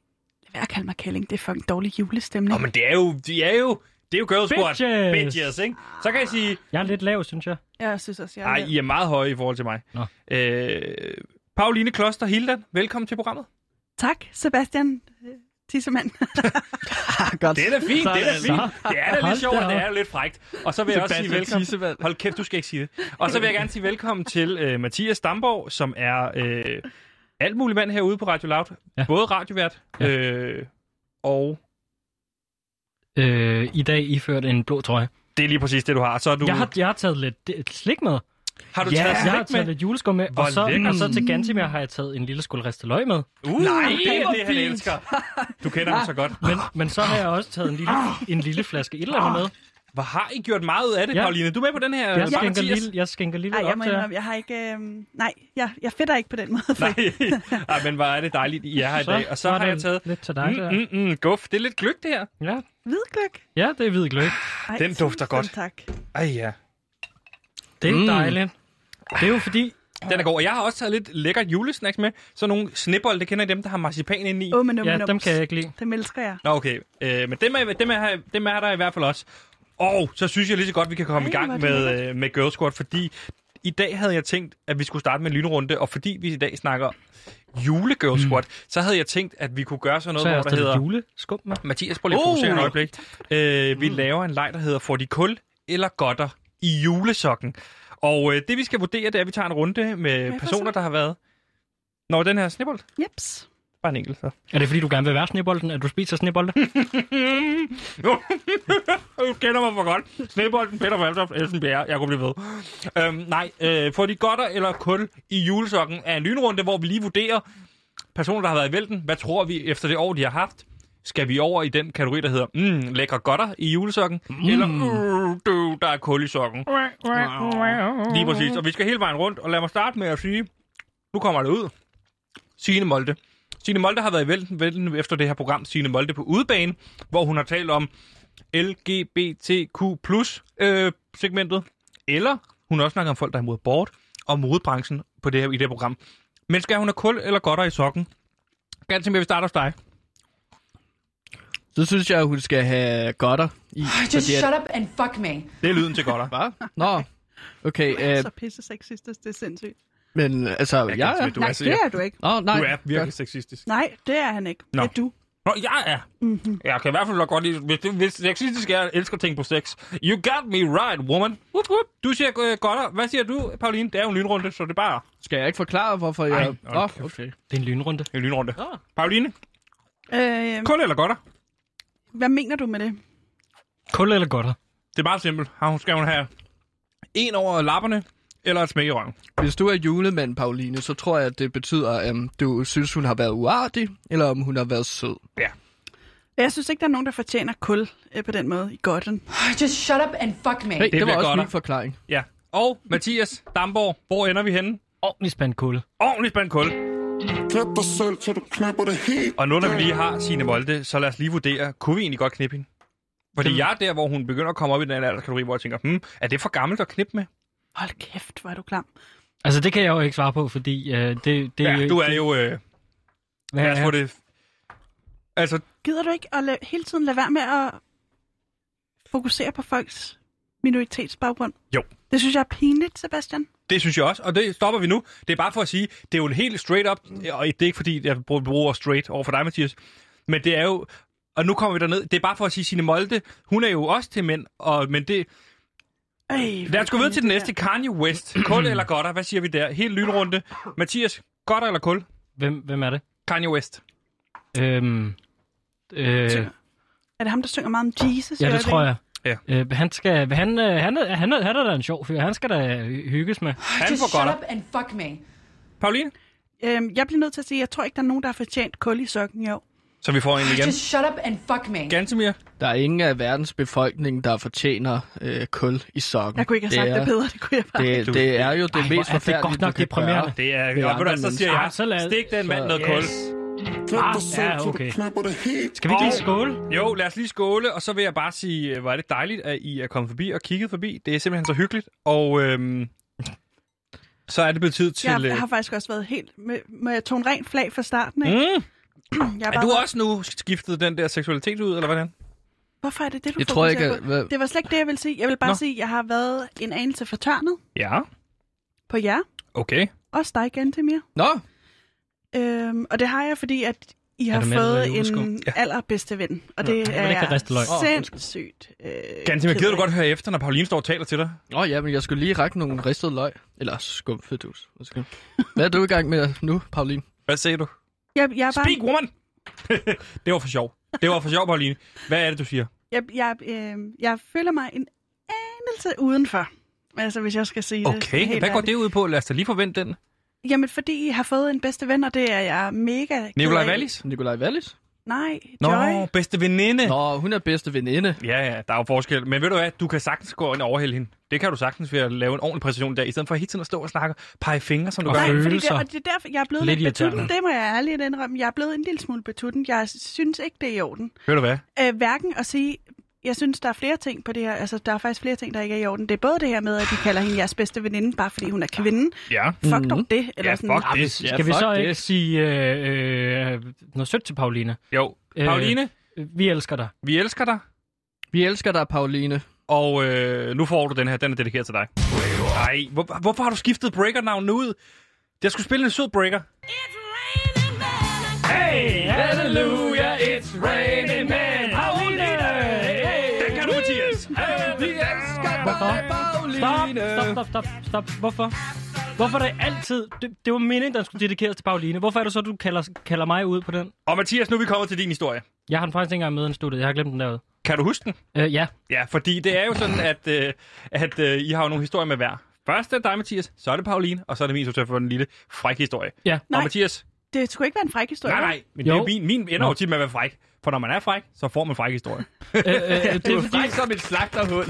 lad være at kalde mig kælling, det er fucking dårlig julestemning.
Nå, men det er jo, de er jo, det er jo girl squad.
Bitches!
Bitches, ikke? Så kan jeg sige,
Jeg er lidt lav, synes jeg.
Jeg synes også, jeg er
nej, I er meget høje i forhold til mig.
Ah, Nå.
Øh, Pauline Kloster Hildan, velkommen til programmet.
Tak, Sebastian øh, Tissemand.
Godt.
Det er da fint, det er da
Sådan.
fint. Det er da
Hold
lidt
da
sjovt, og det
op.
er jo lidt frægt. Og så vil jeg også sige
Sebastian
velkommen.
Tissemand.
Hold kæft, du skal ikke sige det. Og så vil jeg gerne sige velkommen til øh, Mathias Damborg, som er øh, alt mulig mand herude på Radio Loud.
Ja.
Både radiovært
Ja.
øh, og...
Øh, I dag iført en blå trøje.
Det er lige præcis det, du har. Så er du,
Du... Jeg, har, jeg har taget lidt øh, slik med.
har du
ja,
taget
jeg har
slik
taget
med?
lidt juleskum med.
Hvor
og, så,
lækkert.
og så til Gantimer har jeg taget en lille skål risteløg med.
Uh, Nej, det er
hvor
det, han
fint.
elsker. Du kender ham så godt.
Men, men så har jeg også taget en lille, en lille flaske et eller andet med.
Hvor har I gjort meget ud af det, ja.
Ja.
Pauline? Du er med på den her
Jeg
bare
skænker
Mathias?
lille, jeg skænker lille
Nej, jeg
op
må
til jer.
indrømme, jeg har ikke... Øh, nej, jeg, jeg fedter ikke på den måde.
Nej. Ej, men hvor er det dejligt, I er her i dag. Og så,
var
har
der
jeg taget...
Lidt til dig, der.
Mm, mm, mm, guf, det er lidt gløk, det her.
Ja.
Hvidgløk.
ja, det er hvid gløb.
Ej,
Den dufter
tusind
godt.
Tak.
Ej ja.
Det er
Mm.
mm. dejligt. Det er jo fordi...
Den er god. Og jeg har også taget lidt lækker julesnacks med. Sådan nogle snibbold, det kender I dem, der har marcipan inde i.
Åh, men
Ja, dem kan jeg ikke lide.
Dem elsker jeg.
Nå, okay. Øh, men dem er, dem, er, her- dem er der i hvert fald også. Og så synes jeg lige så godt, vi kan komme
Ej,
i gang
hvor er det
med, øh, med Girl Squad, fordi i dag havde jeg tænkt, at vi skulle starte med en lynrunde, og fordi vi i dag snakker jule-Girl Squad, så havde jeg tænkt, at vi kunne gøre sådan noget,
Mm. Så har jeg
hvor
også
der
taget
hedder...
lidt juleskum med.
Mathias, prøv lige at
Oh!
Uh!
fokusere uh, et øjeblik. Øh,
Mm.
vi laver en leg, der hedder Får de kul eller godter i julesokken. Og øh, det, vi skal vurdere, det er, at vi tager en runde med
jeg få
personer,
sådan?
der har været... Nå, den her snibbold.
Jeps.
Bare en enkelt, så.
Er det fordi, du gerne vil være snebolden? At du spiser snebolde?
Hm.
Du kender mig for godt. Snebolden, Peter Valtoft, Elsen Bjerre. Jeg kunne blive ved. Øhm, nej, øh, får de godter eller kul i julesokken er en lynrunde, hvor vi lige vurderer personer, der har været i vælten. Hvad tror vi efter det år, de har haft? Skal vi over i den kategori, der hedder mm, lækre godter i julesokken? Mm. Eller uh, du, der er kul i sokken? Lige præcis. Og vi skal hele vejen rundt, og lad mig starte med at sige, nu kommer det ud. Signe Molde. Signe Molde har været i vælten, vælten efter det her program, Signe Molde på udebane, hvor hun har talt om LGBTQ øh, segmentet, eller hun har også snakker om folk, der er imod abort og modebranchen på det her, i det her program. Men skal hun have kul eller godter i sokken? Ganske mere, vi starter hos dig.
Så synes jeg, at hun skal have godter i. fordi at-
up and fuck me.
Det er lyden til godter.
Hvad? Nå. Okay, øh,
Så pisse sexistisk, det er sindssygt.
men altså,
kan
jeg
ikke
er...
smide- Du
nej,
er sikker.
det er du ikke.
Nå, nej.
Du er virkelig sexistisk.
Nej, det er han ikke.
Nå.
Det er du. Mhm.
Nå, jeg er. Mm-hmm. Jeg kan i hvert fald nok godt lide, hvis, det- hvis sexistisk er, jeg elsker ting på sex. You got me right, woman. Whoop, whoop. Du siger øh, godter. Hvad siger du, Pauline? Det er jo en lynrunde, så det er bare
Skal jeg ikke forklare, hvorfor
Ej,
jeg...
hold
Nå,
kæft.
okay.
Det er en lynrunde.
en lynrunde. Ja. Pauline,
Øh,
kul eller godter?
hvad mener du med det?
Kul eller godter?
Det er meget simpelt. Har hun, skal hun have en over lapperne, eller et smæk i røven?
Hvis du er julemand, Pauline, så tror jeg, at det betyder, om du synes, hun har været uartig, eller om hun har været sød.
Jeg synes ikke, der er nogen, der fortjener kul øh, på den måde i godten.
Just shut up and fuck me.
Hey, det,
bliver
det var også
godt,
min
da.
forklaring.
Ja. Og Mathias Damborg, hvor ender vi henne?
Ordentlig spændt kul.
Ordentligt spændt kul.
Klap dig selv, til du klapper det helt.
Og nu, når vi lige har sine Molde, så lad os lige vurdere, kunne vi egentlig godt knippe hende? Fordi jeg er der, hvor hun begynder at komme op i den her alderskategori, hvor jeg tænker, hmm, er det for gammelt at knippe med?
Hold kæft, hvor er du klam.
Altså, det kan jeg jo ikke svare på, fordi øh, det, det...
Ja, du er jo... Øh,
Hvad
lad os
er
få
jeg?
det... Altså,
Gider du ikke at la- hele tiden lade være med at fokusere på folks minoritetsbaggrund?
Jo.
Det synes jeg er pinligt, Sebastian.
det synes jeg også, og det stopper vi nu. Det er bare for at sige, det er jo en helt straight up, og det er ikke fordi, jeg bruger- bruger straight over for dig, Mathias, men det er jo, og nu kommer vi derned, det er bare for at sige, Signe Molde, hun er jo også til mænd, og, men det,
Øj,
Lad os gå videre til den næste. Kanye West. Kul eller godter? Hvad siger vi der? Helt lynrunde. Mathias, godter eller kul?
Hvem, hvem er det?
Kanye West.
Øhm, øh,
Er det ham, der synger meget om Jesus? i
ja, det tror
øjeblikket?
jeg.
Ja.
Øh, han, skal, han, øh, han, er- han, er- han er da en sjov fyr. Han skal da hy- hygges med.
Han
Just
får
shut
godter.
up and fuck me.
Pauline?
Øhm, jeg bliver nødt til at sige, at jeg tror ikke, der er nogen, der har fortjent kul i sokken i år.
Så vi får en igen.
Just shut up and fuck me.
Gantemir?
Der er ingen af verdens befolkning, der fortjener øh, kul i sokken.
Jeg kunne ikke have sagt det,
er-
bedre, det kunne jeg bare ikke.
Det, det er jo det
Ej, hvor er
mest
det
forfærdelige,
godt nok
du kan
deprimerende.
gøre
Det er-
ved
og ved du hvad,
andre
så siger
mennesker.
jeg, stik den mand noget kul.
Ah, ja, okay. Skal vi ikke lige skåle?
Jo, lad os lige skåle, og så vil jeg bare sige, øh, hvor er det dejligt, at I er kommet forbi og kigget forbi. Det er simpelthen så hyggeligt, og øhm, så er det blevet tid til...
Jeg
øh,
har faktisk også været helt... Med, må jeg tone rent flag fra starten, ikke?
Mm.
Jeg har
Er
bare
du
været-
også nu skiftet den der seksualitet ud, eller hvordan?
Hvorfor er det det, du
Jeg
fokuserer
tror ikke,
på?
at- hvad-
Det var slet ikke det, jeg ville sige. Jeg vil bare
Nå.
Nå. sige, at jeg har været en anelse fortørnet
Ja,
på jer.
okay.
Også dig, Gantemir.
Nå,
Øhm, og det har jeg, fordi at I
Er
har
du med,
fået
eller er det
en ja. allerbedste ven. Og
Nå,
det
man
er
ikke kan riste løg. Åh, undskyld.
sindssygt. Øh,
Gantemir,
ked
gider du
af.
godt høre efter, når Pauline står og taler til dig?
Nå ja, men jeg skulle lige række nogle ristede løg. Eller skumfedus. Undskyld. Hvad er du i gang med nu, Pauline?
Hvad siger du?
Jeg, jeg, er bare,
Speak, woman! det var for sjov. Det var for sjov, Pauline. Hvad er det, du siger?
jeg, jeg, øh, jeg føler mig en anelse udenfor. Altså, hvis jeg skal sige det. sådan
Okay,
helt
hvad går
ærligt.
det ud på? Lad os da lige forvente den.
Jamen, fordi I har fået en bedste ven, og det er jeg mega ked
Nikolaj
af.
Wallis?
Nikolaj Wallis?
Nej,
Nå,
Joy.
bedste veninde.
Nå, hun er bedste veninde.
Ja, ja, der er jo forskel. Men ved du hvad, du kan sagtens gå ind og overhælde hende. Det kan du sagtens ved at lave en ordentlig præcision der, i stedet for hele tiden at stå og snakke og pege fingre, som du
Og
gør.
Nej, fordi det,
følelser.
og det er derfor, jeg er blevet
Lidt
lidt, lidt betutten.
irriterende.
Det må jeg ærligt indrømme. Jeg er blevet en lille smule betutten. Jeg synes ikke, det er i orden.
Ved du hvad?
Øh, hverken at sige, jeg synes, der er flere ting på det her. Altså, der er faktisk flere ting, der ikke er i orden. Det er både det her med, at de kalder hende jeres bedste veninde, bare fordi hun er kvinde.
Ja.
Fuck dog det. Eller
Mm. Ja,
sådan.
fuck det.
Ja,
Skal vi så
fuck
ikke
det.
sige øh, øh, noget sødt til Pauline?
Jo,
Øh.
Pauline,
Vi elsker dig.
vi elsker dig,
Vi elsker dig, Pauline.
og øh, nu får du den her. Den er dedikeret til dig. Nej, hvor, hvorfor har du skiftet breakernavnet ud? Jeg skulle spille en sød breaker.
Hallelujah, it's raining man. Pauline!
Den kan du, Mathias.
Vi elsker
Hvorfor?
dig,
Stop,
Pauline.
stop, stop, stop, stop. Hvorfor? Hvorfor er det altid... Det, det var meningen, den skulle dedikeres til Pauline. Hvorfor er det så, du kalder, kalder mig ud på den?
Og Mathias, nu er vi kommet til din historie.
Jeg har den faktisk ikke engang med i studiet. Jeg har glemt den derude.
Kan du huske den?
Øh, ja.
Ja, fordi det er jo sådan, at, øh, at øh, I har jo nogle historier med hver. Først er det dig, Mathias, så er det Pauline, og så er det min, som for den lille fræk historie.
Ja.
Og
Nej.
Mathias,
Det skulle ikke være en fræk historie.
nej, nej, men det er
Jo.
jo min, min ender jo
Nå.
tit med at være fræk. For når man er fræk, så får man fræk historie.
Øh, øh, det er fordi...
som et slagterhul.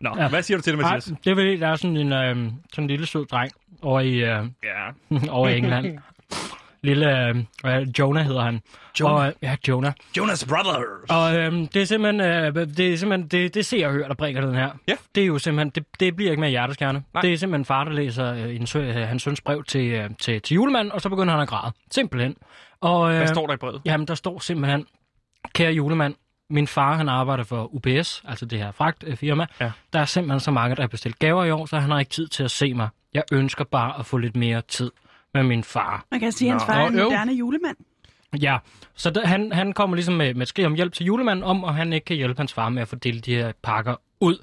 Nå, ja.
Ja.
hvad siger du til det,
Nej,
Mathias?
det er fordi, der er sådan en, øh, sådan en lille sød dreng over i, øh,
Ja.
over i England. Lille øh, øh, Jonah hedder han.
Jonah.
Og, øh, ja, Jonah.
Jonas Brothers.
Og øhm, det er simpelthen, øh, det, er simpelthen det, det ser og hører, der bringer den her.
Ja.
Det er jo simpelthen, det, det bliver ikke mere hjerteskærende.
Nej.
Det er simpelthen far, der læser øh, en sø, øh, hans søns brev til, øh, til, til julemanden, og så begynder han at græde. Simpelthen. Og, øh,
Hvad står der i brevet?
Jamen, der står simpelthen, kære julemand, min far han arbejder for UPS, altså det her fragtfirma.
Ja.
Der er simpelthen så mange, der har bestilt gaver i år, så han har ikke tid til at se mig. Jeg ønsker bare at få lidt mere tid med min far.
Man kan sige, at hans
Nå.
far er en
Nå, øv.
moderne julemand.
Ja, så der, han, han kommer ligesom med, med et skrig om hjælp til julemanden om, og han ikke kan hjælpe hans far med at fordele de her pakker ud.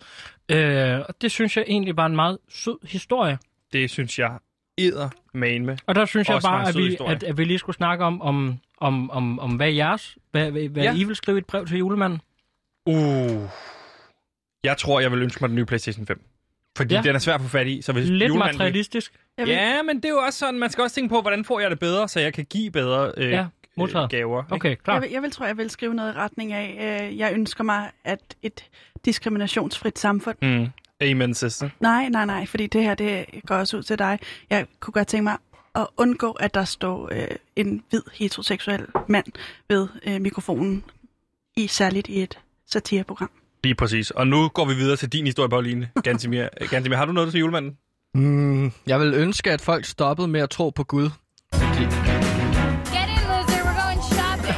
Øh, og det synes jeg egentlig var en meget sød historie.
Det synes jeg æder man med.
Og der synes jeg
Også var en
bare, at
sød
vi,
historie.
at, at vi lige skulle snakke om, om, om, om, om hvad jeres, hvad, hvad, hvad
Ja.
I vil skrive i et brev til julemanden.
Uh. Jeg tror, jeg vil ønske mig den nye PlayStation 5. Fordi
Ja.
ja. den er svær at få fat i, så hvis
Lidt
julemanden vil-
materialistisk.
Jeg ved-
Ja, men det er jo også sådan, man skal også tænke på, hvordan får jeg det bedre, så jeg kan give bedre øh,
Ja,
ja,
modtaget.
øh, gaver. ikke?
Okay,
Jeg,
klar.
vil, jeg vil tror, jeg vil skrive noget i retning af, øh, jeg ønsker mig, at et diskriminationsfrit samfund.
Mm. Amen, sister.
Nej, nej, nej, fordi det her, det går også ud til dig. Jeg kunne godt tænke mig at undgå, at der står øh, en hvid heteroseksuel mand ved øh, mikrofonen, i særligt i et satireprogram.
Lige præcis. Og nu går vi videre til din historie, Pauline. Gantimir, Øh, Gantimir har du noget til julemanden?
Mm, jeg vil ønske, at folk stoppede med at tro på Gud.
Get in, loser. We're going shopping.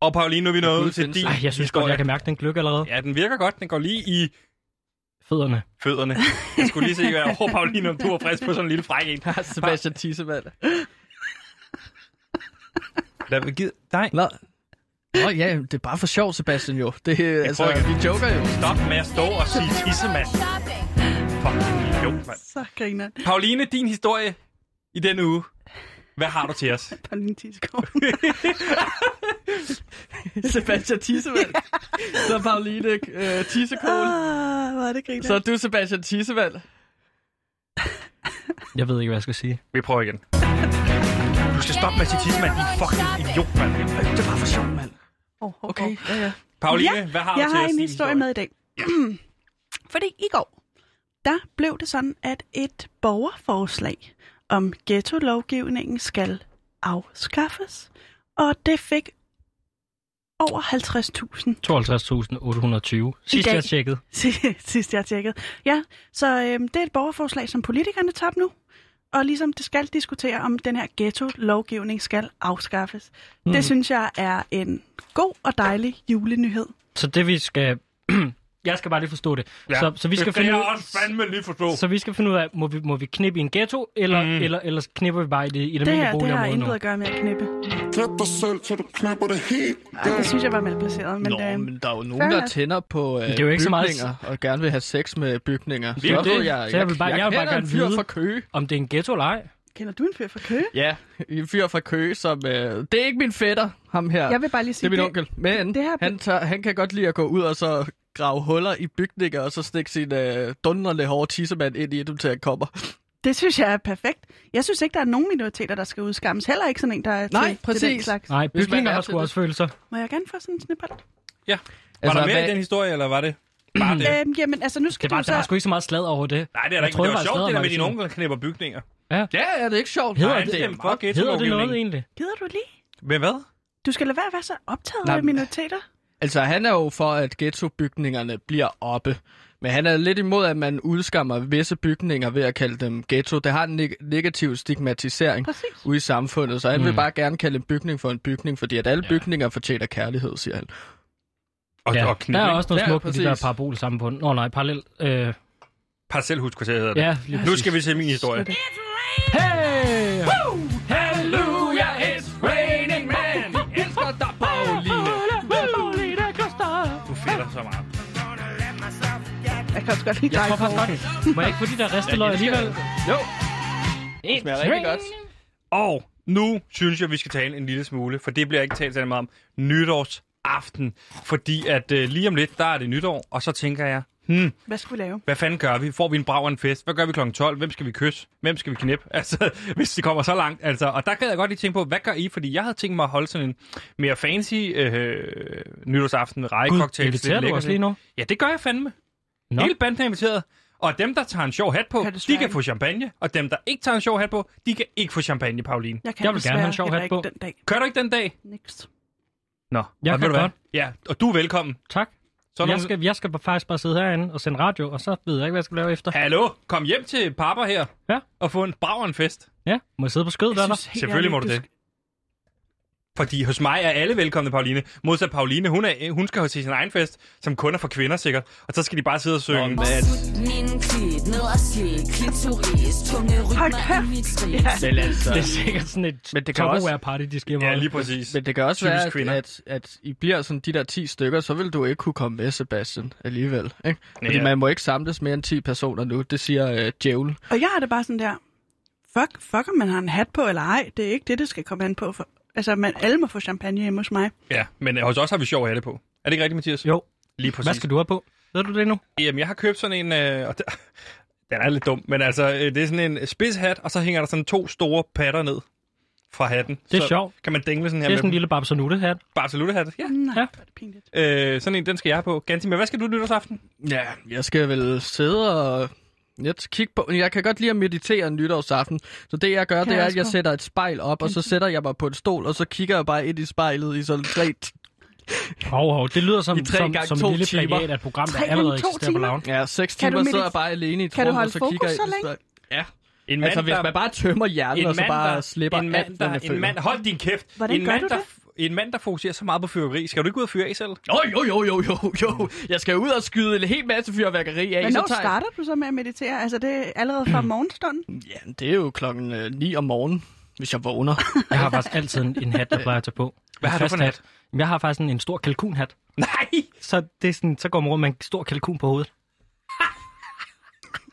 Og Pauline, nu er vi
Gud
nået til
findes.
din
Ej, jeg synes godt, jeg kan mærke den gløk allerede.
Ja, den virker godt. Den går lige i
Fødderne.
fødderne. Jeg skulle lige se, hvad oh, Pauline, om du var frisk på sådan en lille fræk en.
Sebastian Tissemand.
Lad mig give... Nej,
Nå. Nå ja, det er bare for sjov, Sebastian jo. Det, er, altså,
prøver ikke.
vi joker jo.
stop med at stå og sige tissemand.
Shopping.
Fuck, idiot, mand.
Så griner
Pauline, din historie i denne uge. Hvad har du til os?
Pauline Tisgaard.
Sebastian Tissemand. Så er Pauline øh, Tissekål.
Ah, hvor er det griner.
Så er du Sebastian Tissemand.
Jeg ved ikke, hvad jeg skal sige.
Vi prøver igen. Du skal stoppe med at sige tisse, mand. Din fucking idiot, mand. Det er bare for sjov, mand.
Oh, okay. Ja, ja.
Pauline,
ja,
hvad har du
jeg
til
har
os,
en
din
historie med i dag. Ja. Fordi i går, der blev det sådan, at et borgerforslag om ghetto-lovgivningen skal afskaffes, og det fik over 50.000
52.820. Sidst
dag.
jeg tjekkede.
sidst jeg tjekkede. Ja, så øhm, det er et borgerforslag, som politikerne tager op nu. Og ligesom det skal diskutere, om den her ghetto-lovgivning skal afskaffes. Mm.
Mhm.
Det synes jeg er en god og dejlig julenyhed.
Så det vi skal... jeg skal bare lige forstå det.
Ja.
Så, så vi skal
det
finde
kan
ud...
jeg også fandme lige forstå.
Så vi skal finde ud af, må vi, må vi knippe i en ghetto, eller, mm. eller, eller knipper vi bare i det, i det,
Det
almindelige
her det har
boligområde nu?
intet at gøre med at knippe.
Klap dig selv, til du klipper det helt.
Ej, det synes jeg var malplaceret. Men,
Nå,
øh,
men der er jo
fair
nogen, der
enough.
tænder på øh,
Men det er jo ikke så meget-
bygninger, og gerne vil have sex med bygninger.
Det er jo
Så
det. Så jeg vil bare- jeg vil bare
kender
gerne
en fyr
vide-
fra Køge.
Om det er en ghetto eller ej?
Kender du en fyr fra Køge?
Ja, en fyr fra Køge, som... Øh, det er ikke min fætter, ham her.
Jeg vil bare lige sige,
det er min
det-
onkel. Men det her... han, tør, han kan godt lide at gå ud og så grave huller i bygninger, og så stikke sin øh, dundrende hårde tissemand ind i dem, til han kommer.
Det synes jeg er perfekt. Jeg synes ikke, der er nogen minoriteter, der skal udskammes. Heller ikke sådan en, der er
Nej,
til, til den
præcis.
slags.
Nej,
Hvis man
bygninger
er
har
til
sgu
det.
også følelser.
Må jeg gerne få sådan en snibbold?
Var
Altså,
der mere
hvad-
i den historie, eller var det bare det?
Øhm, jamen, altså nu skal
Det var,
du
der var
så...
sgu ikke så meget slad over det.
Nej, det er da
Jeg
ikke.
troede,
men Det var
der var
sjovt, det der
sladder,
med din
Martin.
onkel, der knæpper bygninger.
Ja.
Ja, ja, det er ikke sjovt.
Hedder
Nej,
det-
er
Fuck
meget-
Hedder det noget
ghetto-lovgivning.
egentlig?
Gider du lige?
Men hvad?
Du skal lade være at være så optaget
Nej,
af
men-
minoriteter.
Altså, han er jo for, at ghettobygningerne bliver oppe. Men han er lidt imod, at man udskammer visse bygninger ved at kalde dem ghetto. Det har en neg- negativ stigmatisering
Præcis.
ude i samfundet, så han mm. vil
Mm.
bare gerne kalde en bygning for en bygning, fordi at alle ja. bygninger fortjener kærlighed, siger han.
Og,
Ja,
og
der er
knæpning.
også noget
Ja,
smukt i de der
præcis.
parabolsamfund. Nå nej, parallelt. Øh,
Parcelhuskvarteret hedder det.
Ja, lige
nu
præcis.
skal vi til min historie.
hey!
Hallelujah, it's raining man! Vi elsker dig, Pauline!
Du fedter så meget.
Jeg kan også godt lide
Jeg
dig.
tror faktisk godt, må jeg ikke få de der risteløg alligevel?
Jo, det smager rigtig godt.
Og nu synes jeg, vi skal tale en lille smule, for det bliver ikke talt særlig meget om, nytårsaften. Fordi at øh, lige om lidt, der er det nytår, og så tænker jeg, hmm,
Hvad skal vi lave?
hvad fanden gør vi? Får vi en brav og en fest? Hvad gør vi kl. 12? Hvem skal vi kysse? Hvem skal vi knæppe? Altså, hvis det kommer så langt. Altså, og der kan jeg godt lige tænke på, hvad gør I? Fordi jeg havde tænkt mig at holde sådan en mere fancy øh, nytårsaften med
Gud,
rækkecocktails.
inviterer du os lige nu?
Ja, det gør jeg fandme.
Nå.
Hele banden er inviteret. Og dem, der tager en sjov hat på,
Kan
de
desværre
kan
ikke.
få champagne. Og dem, der ikke tager en sjov hat på, de kan ikke få champagne, Pauline.
Jeg kan
Jeg vil gerne have en
desværre
sjov
heller
hat
ikke
på.
den dag.
Kører du ikke den dag?
Next.
Nå,
Jeg
og
kan
ved du hvad?
godt.
Ja, og du er velkommen.
Tak.
Så
Jeg
er nogen...
skal, jeg skal faktisk bare sidde herinde og sende radio, og så ved jeg ikke, hvad jeg skal lave efter.
Hallo, kom hjem til papper her
Ja.
og få en braverenfest.
Ja, må jeg sidde på skødet,
Jeg
eller?
synes helt
Selvfølgelig må du
ærligt,
det. Fordi hos mig er alle velkomne, Pauline. Modsat Pauline, hun, er, hun skal til sin egen fest, som kun er for kvinder sikkert. Og så skal de bare sidde og synge. Nå,
Min klit, ned og slik, klitoris, tunge
Hold
rytmer i
kæft.
mit
Ja.
skridt.
Men altså,
Det er sikkert sådan et
Men det
det
kan også-
party, de skal
ja, lige præcis.
men det kan også
Typisk
være, at,
kvinder.
at, at I bliver sådan de der 10 stykker, så vil du ikke kunne komme med, Sebastian, alligevel. Ikke? Fordi
Ja.
man må ikke samles mere end 10 personer nu, det siger øh, djævlen.
Og jeg har det bare sådan der, fuck, fuck om man har en hat på eller ej, det er ikke det, det skal komme an på. For, altså, man, alle må få champagne hjemme hos mig.
Ja, men øh, hos os har vi sjov af det på. Er det ikke rigtigt, Mathias?
Jo,
Lige præcis.
hvad skal du have på? Ved du det nu?
Jamen, jeg har købt sådan en... Øh, og det, den er lidt dum, men altså, øh, det er sådan en spidshat, og så hænger der sådan to store patter ned fra hatten.
Det er
så
sjovt.
Kan man dængle sådan her
Det er
med
sådan en lille babsanute her.
Barcelona-hat? Ja.
Nej,
Ja.
hvor er det pinligt.
Øh, sådan en, den skal jeg have på. Ganti, men hvad skal du nytårsaften?
Ja, jeg skal vel sidde og lidt kigge på. Jeg kan godt lide at meditere nytårsaften. Så det, jeg gør, det
Kan jeg
er, at
også
jeg
godt.
sætter et spejl op, og så sætter jeg mig på en stol, og så kigger jeg bare ind i spejlet i sådan tre...
Hov, hov, det lyder som,
I tre
som,
gange
som
to
en lille
timer.
plagiat af et program,
Tre
der
gange
allerede
to
eksisterer på
timer?
lavn.
Ja, seks
Kan du
timer
medit-
sidder jeg bare alene i et
Kan du
rum, og
holde
så
fokus
kigger jeg
så
ind i
længe?
spejlet. Ja.
En
altså, hvis man bare tømmer hjernen, og så bare slipper
en mand,
alt,
der,
hvad man
en
føler.
mand, hold din kæft.
Hvordan
en
gør
mand,
du
der,
det?
En mand, der fokuserer så meget på fyrværkeri. Skal du ikke ud og fyre af selv?
Åh, jo, jo, jo, jo, jo. Jeg skal ud og skyde en hel masse fyrværkeri af.
Men når
så tager jeg-
starter du så med at meditere? Altså, det er allerede
Mm.
fra morgenstunden?
Ja, det er jo klokken øh, 9 om morgenen, hvis jeg vågner.
Jeg har faktisk altid en, en hat, der plejer at tage på.
Hvad har du
fast
for en hat?
Jamen, Jeg har faktisk en, en stor kalkunhat.
Nej!
Så, det er sådan, så går man rundt med en stor kalkun på hovedet.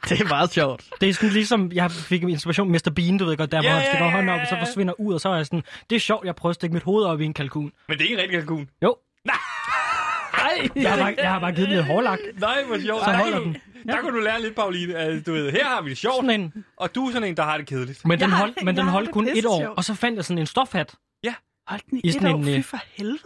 det er meget sjovt.
Det er sådan ligesom, jeg fik inspiration Mr. Bean, du ved godt, der hvor
Ja,
han stikker
ja, ja,
hånden op, og
ja,
så
ja.
forsvinder ud, og så er jeg sådan, det er sjovt, jeg prøver at stikke mit hoved op i en kalkun.
Men det er ikke en rigtig kalkun.
Jo. Nej, jeg har bare, jeg har bare givet den lidt hårlagt.
Nej, hvor sjovt.
Så
Der
holder
kunne du-
den.
Der kunne du lære lidt, Pauline. Altså, du ved, her har vi det sjovt,
Sådan en.
og du er sådan en, der har det kedeligt.
Men den
Jeg har-
holdt, men den
jeg har
holdt
det
kun et
pisse
år,
sjovt.
og så fandt jeg sådan en stofhat.
Hold den i,
I
et
sådan
år,
en,
fy
øh,
for helvede.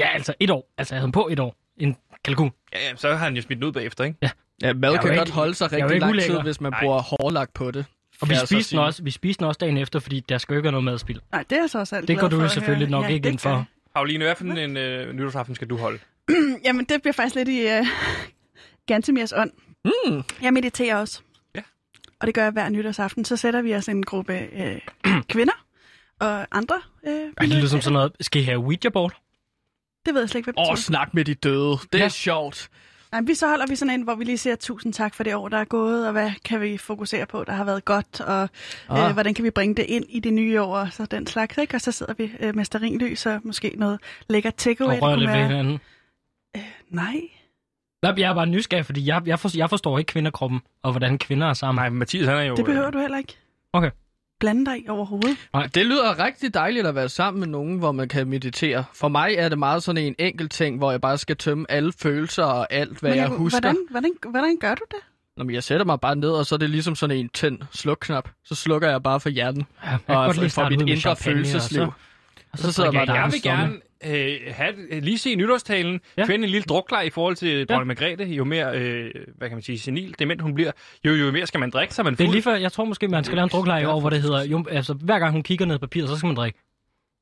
Ja, altså et år. Altså jeg havde den på et år. En kalkun.
Ja, jamen, så har han jo smidt den ud bagefter, ikke?
Ja.
Ja,
Jeg er
mad
jo
kan
ikke-
godt holde sig
jeg er jo
rigtig
ikke
lang tid,
ulækker.
hvis man
Nej.
bruger hårlagt på det.
Og vi spiste, den også, vi spiste den også dagen efter, fordi der skal jo ikke være noget madspild.
Nej, det er jeg så også alt
Det
glad
går du
for
jo
at
selvfølgelig
høre.
nok
Ja,
ikke
det
ind for.
Pauline, hvad for en øh, nytårsaften skal du holde?
Jamen, det bliver faktisk lidt i uh, Gantemirs ånd.
Mm.
Jeg mediterer også. Ja. Og det gør jeg hver nytårsaften. Så sætter vi os en gruppe øh, kvinder og andre. Øh,
Ej, det lyder som sådan noget, skal I have Ouija board?
det ved jeg slet ikke, hvad det
Åh,
betyder.
oh, snak med de døde. Det er sjovt.
Nej, men vi så holder vi sådan en, hvor vi lige siger tusind tak for det år, der er gået, og hvad kan vi fokusere på, der har været godt, og ah.
Ah.
øh, hvordan kan vi bringe det ind i det nye år, og så den slags, ikke? Og så sidder vi øh, med sterinlys og måske noget lækkert takeaway.
Og
det
rører
kunne
lidt ved
være- Øh,
hinanden.
Nej.
Nej, men Jeg er bare nysgerrig, fordi jeg, jeg, forstår, jeg forstår ikke kvinderkroppen, og hvordan kvinder er sammen.
Nej, Mathias han er jo... øh,
Det behøver du heller ikke
Okay.
blande dig i overhovedet.
Nej.
Det lyder rigtig dejligt at være sammen med nogen, hvor man kan meditere. For mig er det meget sådan en enkelt ting, hvor jeg bare skal tømme alle følelser og alt, hvad
Men
jeg,
kunne-
husker.
Hvordan, hvordan, hvordan gør du det?
Nå, men jeg sætter mig bare ned, og så er det ligesom sådan en tænd-sluk-knap. Så slukker jeg bare for hjernen
jeg kan
og
godt
for,
lige
for
starte
mit
ud med
indre
champagne, og så-
følelsesliv.
og
Og så sidder
drikker
jeg
jeg
bare
Jeg
der.
gerne.
vil gerne øh, have, øh, lige se nytårstalen, ja. finde en lille drukler i forhold til dronning Margrethe. Jo mere, øh, hvad kan man sige, senil, dement hun bliver, jo, jo mere skal man drikke, så er man
Det er
fuld.
lige før, jeg tror måske, man skal lave en drukleje i år, hvor det hedder, jo, altså hver gang hun kigger ned på papiret, så skal man drikke.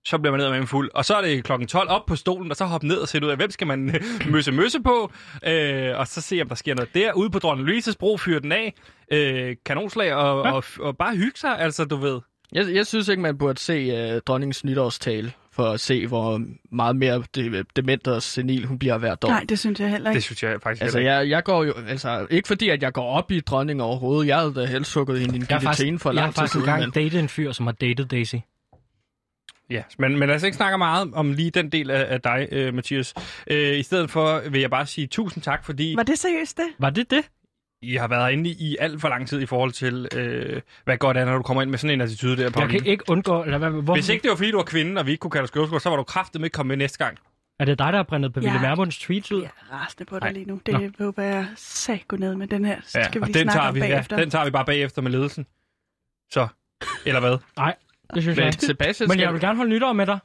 så bliver man ned med en fuld. Og så er det klokken 12 op på stolen, og så hoppe ned og sætte ud af, hvem skal man øh, møsse møsse på, øh, og så se, om der sker noget der. Ude på dronning Louise's bro, fyre den af, øh, kanonslag, og, og, og, bare hygge sig, altså du ved.
Jeg, jeg synes ikke, man burde se uh, dronningens nytårstale, for at se, hvor meget mere de, dement og senil hun bliver hvert år.
Nej, det synes jeg heller ikke.
Det synes jeg faktisk
Altså,
heller
jeg, jeg går jo... Altså, ikke fordi, at jeg går op i dronning overhovedet. Jeg havde da helst sukket hende i en
Jeg har
guillotine
faktisk,
for
jeg har
lang tid
faktisk
siden.
engang
Men,
datet en fyr, som har datet Daisy.
Ja, men, men lad os ikke snakke meget om lige den del af, af dig, øh, Mathias. Øh, I stedet for vil jeg bare sige tusind tak, fordi
Var det seriøst det?
Var det det?
I har været inde i alt for lang tid i forhold til, øh, hvad godt er, når du kommer ind med sådan en attitude der,
Jeg
Pauline.
kan ikke undgå... Eller hvad, hvorfor,
Hvis ikke det var, fordi du var kvinde, og vi ikke kunne kalde dig skøvskår, så var du kraftet med at komme med næste gang.
Er det dig, der har brændet på Ville
Ja.
Vermunds tweets ud?
rasende på dig lige nu. Det håber jeg sagt ned med den her. Så
Ja,
skal vi
og
lige
den
snakke
tager,
om
vi, ja,
bagefter.
den tager vi bare bagefter med ledelsen. Så, eller hvad?
Nej, det synes jeg
men
ikke.
Sebastian
Men
skal...
jeg vil gerne holde nytår med dig.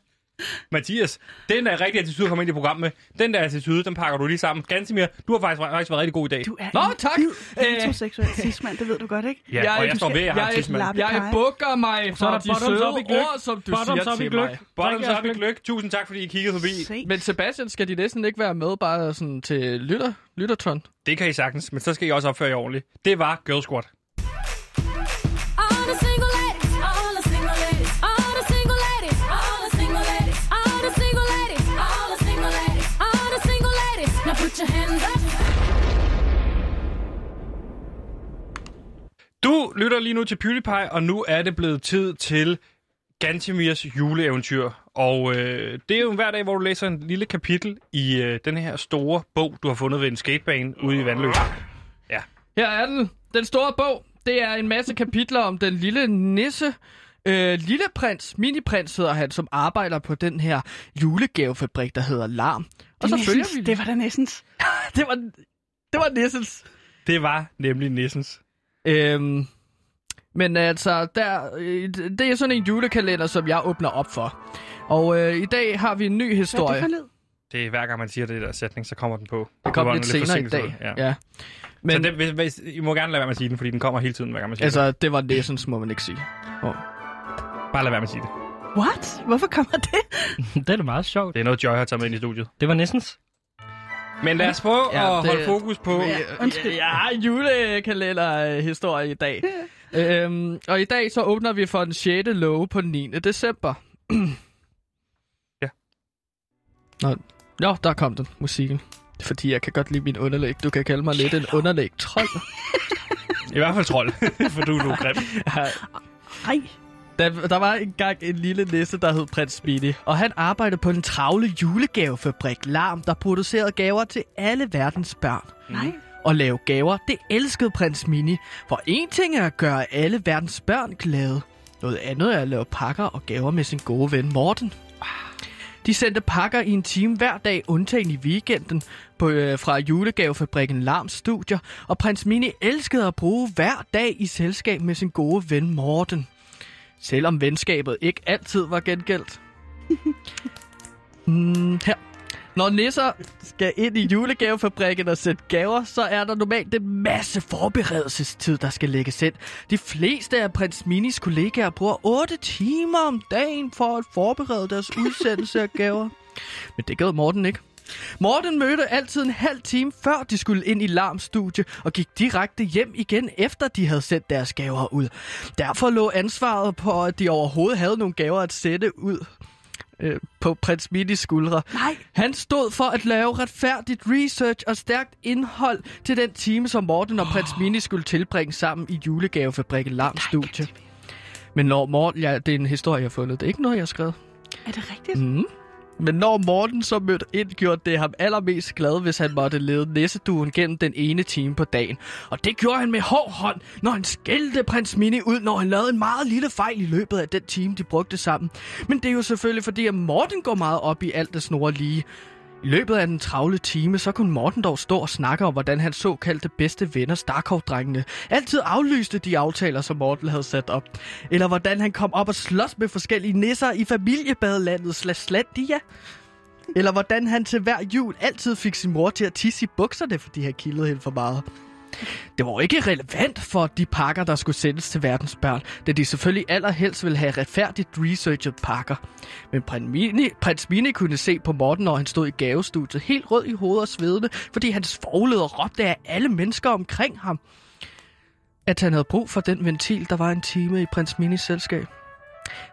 Mathias, den der rigtige attitude, kom ind i programmet med, den der attitude, den pakker du lige sammen. Gansimir, du har faktisk, faktisk været rigtig god i dag.
Du er
Nå,
en
tak!
hvid heteroseksuel cismand, det ved du godt, ikke?
Øh. Ja, og jeg står ved, at jeg har
jeg,
tidsmand.
jeg,
Lappekage.
jeg bukker mig
Så er
for
der
de
bottoms
søde
up i gløgg.
ord, som du
Bottoms
siger
up i
til
gløgg.
mig.
Bottoms
Tak,
up i
Jasmin.
gløk. Tusind tak, fordi I kiggede forbi.
Se.
Men Sebastian, skal de næsten ikke være med bare sådan til lytter, lytterton?
Det kan I sagtens, men så skal I også opføre jer ordentligt. Det var Girl Squad.
All the single ladies, all the single ladies, all the single ladies, all the single ladies, all the single ladies, all the single ladies, all the single ladies. Now put your hands up.
Du lytter lige nu til PewDiePie, og nu er det blevet tid til Gantemirs juleeventyr. Og øh, det er jo hver dag, hvor du læser en lille kapitel i øh, den her store bog, du har fundet ved en skatebane ude i Vandløse.
Her er den. Den store bog. Det er en masse kapitler om den lille nisse. Øh, lille prins, miniprins hedder han, som arbejder på den her julegavefabrik, der hedder Larm. Og så
Det er
følger
Nissens.
vi...
Det var da næstens.
det var, det var nissens.
Det var nemlig Nissens.
Øhm, men altså, der, øh, det er sådan en julekalender, som jeg åbner op for. Og øh, i dag har vi en ny
Hvad er det
historie.
for lyd?
Det er hver gang, man siger det der sætning, så kommer den på.
Det
var
kom lidt
en
senere i dag.
forsinkelse, Ja.
Ja. ja.
Men... Så
Men
det, hvis, hvis, I må gerne lade være med at sige den, fordi den kommer hele tiden, hver gang man siger
altså, det var nissens, må man ikke sige. Oh.
det. Bare lad være med at sige det.
What? Hvorfor kommer det?
det er da meget sjovt.
Det er noget, Joy har taget med ind i studiet.
Det var næstens.
Men lad os prøve ja,
Ja,
at
det-
holde fokus på...
Ja, undskyld. Jeg har en julekalenderhistorie i dag. øhm, og i dag så åbner vi for den 6. låge på den 9. december.
Ja.
Nå, nå, der kom den, musikken. Fordi jeg kan godt lide min underlæg. Du kan kalde mig lidt en underlæg trold.
I hvert fald trold, for du er nu grim.
Ej,
Der, der var engang en lille nisse, der hed Prins Mini, og han arbejdede på en travle julegavefabrik, Larm, der producerede gaver til alle verdens børn.
nej.
At lave gaver, det elskede prins Mini, for en ting er at gøre alle verdens børn glade. Noget andet er at lave pakker og gaver med sin gode ven Morten. De sendte pakker i en time hver dag, undtagen i weekenden, på, øh, fra julegavefabrikken Larms studier, og prins Mini elskede at bruge hver dag i selskab med sin gode ven Morten. Selvom venskabet ikke altid var gengældt. mm, her. Når nisser skal ind i julegavefabrikken og sætte gaver, så er der normalt en masse forberedelsestid, der skal lægges ind. De fleste af prins Minis kollegaer bruger 8 timer om dagen for at forberede deres udsendelse af gaver. Men det gad Morten ikke. Morten mødte altid en halv time før de skulle ind i larmstudie og gik direkte hjem igen efter de havde sendt deres gaver ud. Derfor lå ansvaret på, at de overhovedet havde nogle gaver at sætte ud øh, på prins Minis skuldre. Nej. Han stod for at lave retfærdigt research og stærkt indhold til den time, som Morten og prins Mini skulle tilbringe sammen i julegavefabrikken Larm Studie. Men når Morten... Ja, det er en historie, jeg har fundet. Det er ikke noget, jeg har skrevet.
Er det rigtigt?
Mm. Men når Morten så mødte ind, gjorde det ham allermest glad, hvis han måtte lede næsseduen gennem den ene time på dagen. Og det gjorde han med hård hånd, når han skældte prins Mini ud, når han lavede en meget lille fejl i løbet af den time, de brugte sammen. Men det er jo selvfølgelig fordi, at Morten går meget op i alt det snor lige. I løbet af den travle time, så kunne Morten dog stå og snakke om, hvordan hans såkaldte bedste venner, Starkov-drengene, altid aflyste de aftaler, som Morten havde sat op. Eller hvordan han kom op og slås med forskellige nisser i familiebadelandet Slaslandia. Eller hvordan han til hver jul altid fik sin mor til at tisse i bukserne, fordi han kildede hende for meget. Det var jo ikke relevant for de pakker, der skulle sendes til verdens børn, da de selvfølgelig allerhelst ville have retfærdigt researchet pakker. Men prins Mini, prins Mini kunne se på Morten, når han stod i gavestudiet, helt rød i hovedet og svedende, fordi hans forleder råbte af alle mennesker omkring ham, at han havde brug for den ventil, der var en time i prins Minis selskab.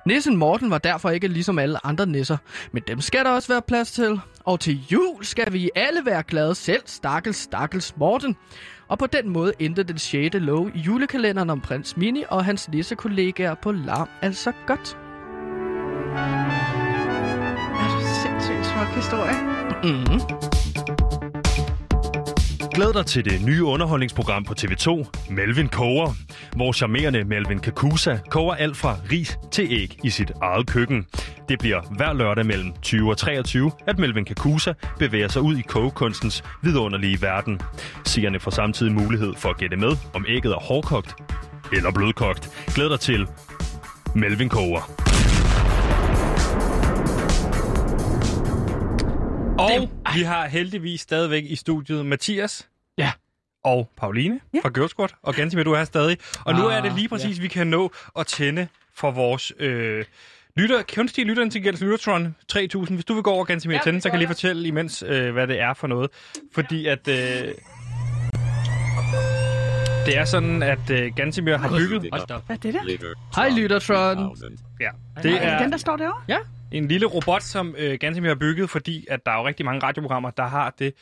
Nissen Morten var derfor ikke ligesom alle andre nisser, men dem skal der også være plads til. Og til jul skal vi alle være glade selv, stakkels, stakkels Morten. Og på den måde endte den 6. lov i julekalenderen om prins Mini og hans nissekollegaer på larm altså godt.
Er du sindssygt smuk historie?
Mm-hmm.
Glæd dig til det nye underholdningsprogram på TV2, Melvin Koger, hvor charmerende Melvin Kakusa koger alt fra ris til æg i sit eget køkken. Det bliver hver lørdag mellem 20 og 23, at Melvin Kakusa bevæger sig ud i kogekunstens vidunderlige verden. Seerne får samtidig mulighed for at gætte med, om ægget er hårdkogt eller blødkogt. Glæd dig til Melvin Koger.
Og vi har heldigvis stadigvæk i studiet Mathias.
Ja.
Og Pauline ja. fra Gøvskort. Og Gantimer, du er her stadig. Og nu er det lige præcis, vi kan nå at tænde for vores øh, lytter, kunstige lytterintelligens Lyttertron 3000. Hvis du vil gå over Gantimer ja, tænde, så kan jeg lige fortælle imens, øh, hvad det er for noget. Fordi at... Øh, det er sådan, at øh, Gantimer har bygget...
Hvad er det der?
Hej Lyttertron.
Ja,
Det er det den, der står derovre?
Ja.
en lille robot, som øh, Gantemir har bygget, fordi at der er jo rigtig mange radioprogrammer, der har det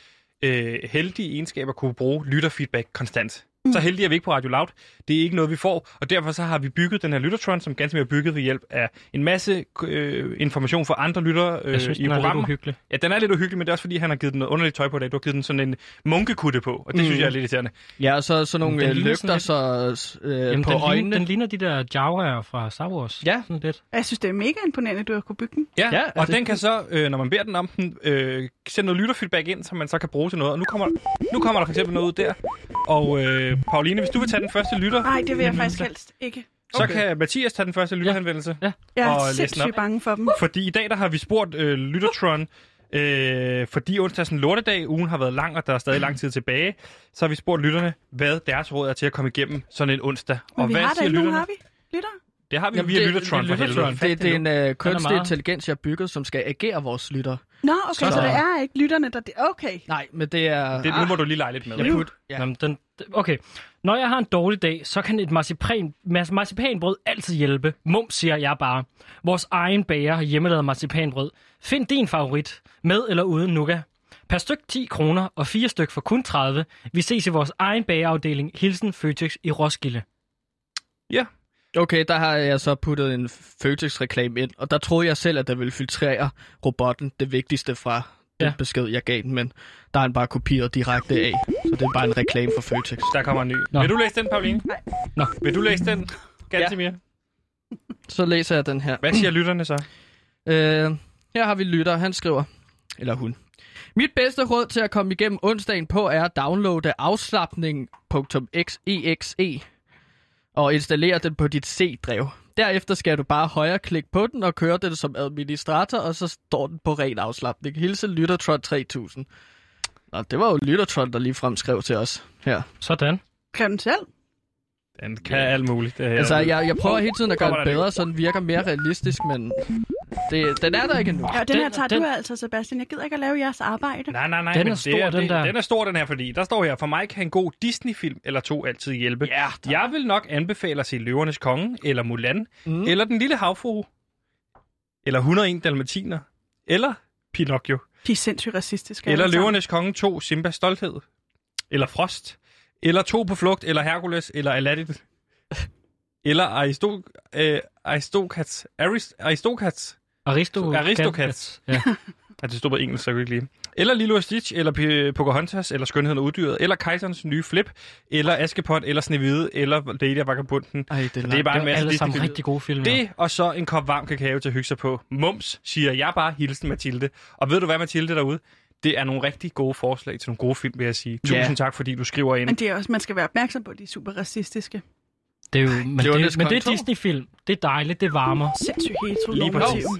øh, heldige egenskab at kunne bruge lytterfeedback konstant. Mm. Så heldige er vi ikke på Radio Loud. Det er ikke noget, vi får, og derfor så har vi bygget den her lyttertron, som Gantemir har bygget ved hjælp af en masse øh, information fra andre lyttere øh,
Jeg synes,
i
den er lidt
programmet.
uhyggelig.
Ja, den er lidt uhyggelig, men det er også fordi, han har givet den noget underligt tøj på i dag. Du har givet den sådan en munkekutte på, og det mm. synes
Mm.
jeg er lidt irriterende.
Ja, og så sådan nogle
Den
øh,
ligner
lygter så, øh,
Jamen,
på
den,
øjnene.
ligner, den ligner de der Jawaer fra Star Wars.
Ja.
Sådan lidt.
Jeg synes, det er mega imponerende, at du har kunnet bygge den.
Ja, ja og
altså-
den kan så, øh, når man beder den om den, øh, sende noget lytterfeedback ind, som man så kan bruge til noget. Og nu kommer, nu kommer der for eksempel noget ud der. Og øh, Pauline, hvis du vil tage den første lytter,
Nej, det vil jeg faktisk helst ikke.
så kan Mathias tage den første lytterhenvendelse. Ja.
Jeg
Og
er
læs den
sindssygt
op.
bange for dem.
Fordi i dag der har vi spurgt øh, Lyttertron, øh, fordi onsdag er sådan en lortedag, ugen har været lang, og der er stadig lang tid tilbage, så har vi spurgt lytterne, hvad deres råd er til at komme igennem sådan en onsdag.
Men
og
vi
hvad
har da
siger
ikke nogen,
lytterne?
har vi? Lytter?
Det har vi
Jamen,
via
det-
Lyttertron
det-
for helvede.
Det, det er en øh, kunstig
meget-
intelligens, jeg har bygget, som skal agere vores lytter.
Nå, okay, så,
Så-
så det er ikke lytterne, der... Okay.
Nej, men det er...
Det, nu må du lige lege lidt med.
Jeg put, ja. Jamen, den, okay. Når jeg har en dårlig dag, så kan et marcipan, mas- marcipanbrød altid hjælpe. Mum siger jeg bare. Vores egen bager har hjemmelavet marcipanbrød. Find din favorit, med eller uden nougat. Per styk 10 kroner og fire styk for kun 30. Vi ses i vores egen bagerafdeling. Hilsen Føtex i Roskilde.
Ja,
Okay, der har jeg så puttet en Føtex-reklame ind, og der troede jeg selv, at der ville filtrere robotten det vigtigste fra ja.
Ja.
den besked, jeg gav den, men der er den bare kopieret direkte af, så det er bare en reklame for Føtex.
Der kommer en ny.
Nå.
Vil du læse den, Pauline? Nej.
Nå.
Vil du læse den, Gantemir? Ja.
Så læser jeg den her.
Hvad siger lytterne så?
Øh, Her har vi lytter, han skriver, eller hun. Mit bedste råd til at komme igennem onsdagen på er at downloade afslappning.exe E og installere den på dit C-drev. Derefter skal du bare højre klik på den og køre den som administrator, og så står den på ren afslappning. Hilse Lyttertron 3000. Nå, det var jo Lyttertron, der lige fremskrev til os her.
Sådan.
Kan den selv?
Den kan alt muligt. Det her.
Altså, jeg, jeg prøver hele tiden at gøre den bedre, så den virker mere realistisk, men det, den er der ikke endnu.
Ja, den, den her tager den... du altså, Sebastian. Jeg gider ikke at lave jeres arbejde.
Nej, nej, nej.
Den er
men det
stor, den
det-
der.
Den er stor, den her, fordi der står her, for mig kan en god Disney-film eller to altid hjælpe.
Ja,
jeg vil nok anbefale at se Løvernes Konge, eller Mulan, mm. eller Den Lille Havfru, eller 101 Dalmatiner, eller Pinocchio,
De er sindssygt racistiske.
eller
alle sammen.
Løvernes Konge 2, Simbas Stolthed, eller Frost, eller To på Flugt, eller Hercules, eller Aladdin, eller Aristo, øh, Aristocats, Arist, Aristocats,
Aristo-
Aristocats.
Ja.
At det stod på engelsk, så jeg kunne ikke lige. Eller Lilo og Stitch, eller P- Pocahontas, eller Skønheden og Uddyret, eller Kejserens nye flip, eller Askepot, eller Snevide, eller Lady og Vagabunden.
Ej, det er,
det er bare
Det
en
er
masse
alle sammen
Disney-film.
rigtig gode film. ja.
Det og så en kop varm kakao til at hygge sig på. Mums, siger jeg bare hilsen Mathilde. Og ved du hvad, Mathilde derude? Det er nogle rigtig gode forslag til nogle gode film, vil jeg sige.
Ja.
Tusind tak, fordi du skriver ind.
Men det er også, man skal være opmærksom på, at de er super racistiske.
Det er jo, men, det,
Løvernes
men det er
Konge to.
Disney-film. Det er dejligt, det varmer.
Sindssygt
Lige præcis.
heteronormative.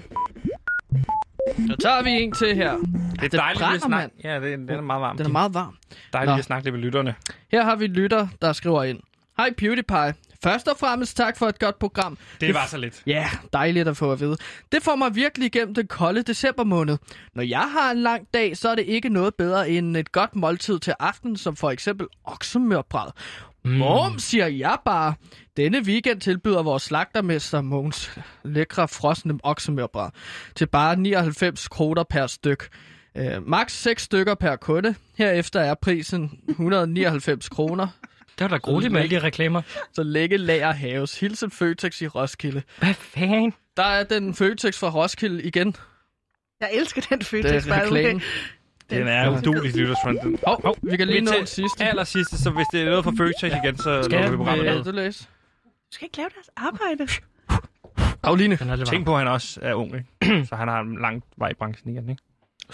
Så tager vi en til her.
Det er dejligt, at
brænder,
snakke.
mand.
Ja, det, den er meget varm.
Den er meget varm.
Dejligt
Nå.
at snakke lidt med lytterne.
Her har vi en lytter, der skriver ind. Hej PewDiePie. Først og fremmest tak for et godt program.
Det var så lidt.
Ja, dejligt at få at vide. Det får mig virkelig igennem den kolde december måned. Når jeg har en lang dag, så er det ikke noget bedre end et godt måltid til aften, som for eksempel oksemørbræd.
Mm.
Mom, siger jeg bare. Denne weekend tilbyder vores slagtermester Mogens lækre frosne oksemørbræd til bare 99 kroner per styk. Øh, max 6 stykker per kunde. Herefter er prisen 199 kroner.
Det var da grueligt med alle de reklamer.
Så lægge lager haves. Hilsen Føtex i Roskilde.
Hvad fanden?
Der er den Føtex fra Roskilde igen.
Jeg elsker den
Det
følelse.
er reklamen.
Den er udulig, lytterstrøm. Den.
Hov, oh, vi kan lige nå
Indtil
den sidste.
Aller sidste, så hvis det er noget fra Føtex igen, så lukker vi programmet
Ja,
ned.
du læs.
Du skal ikke lave deres arbejde.
Agline.
Den er lidt varm.
Tænk på, at han også er ung, ikke? så han har en lang vej i branchen igen. Ikke?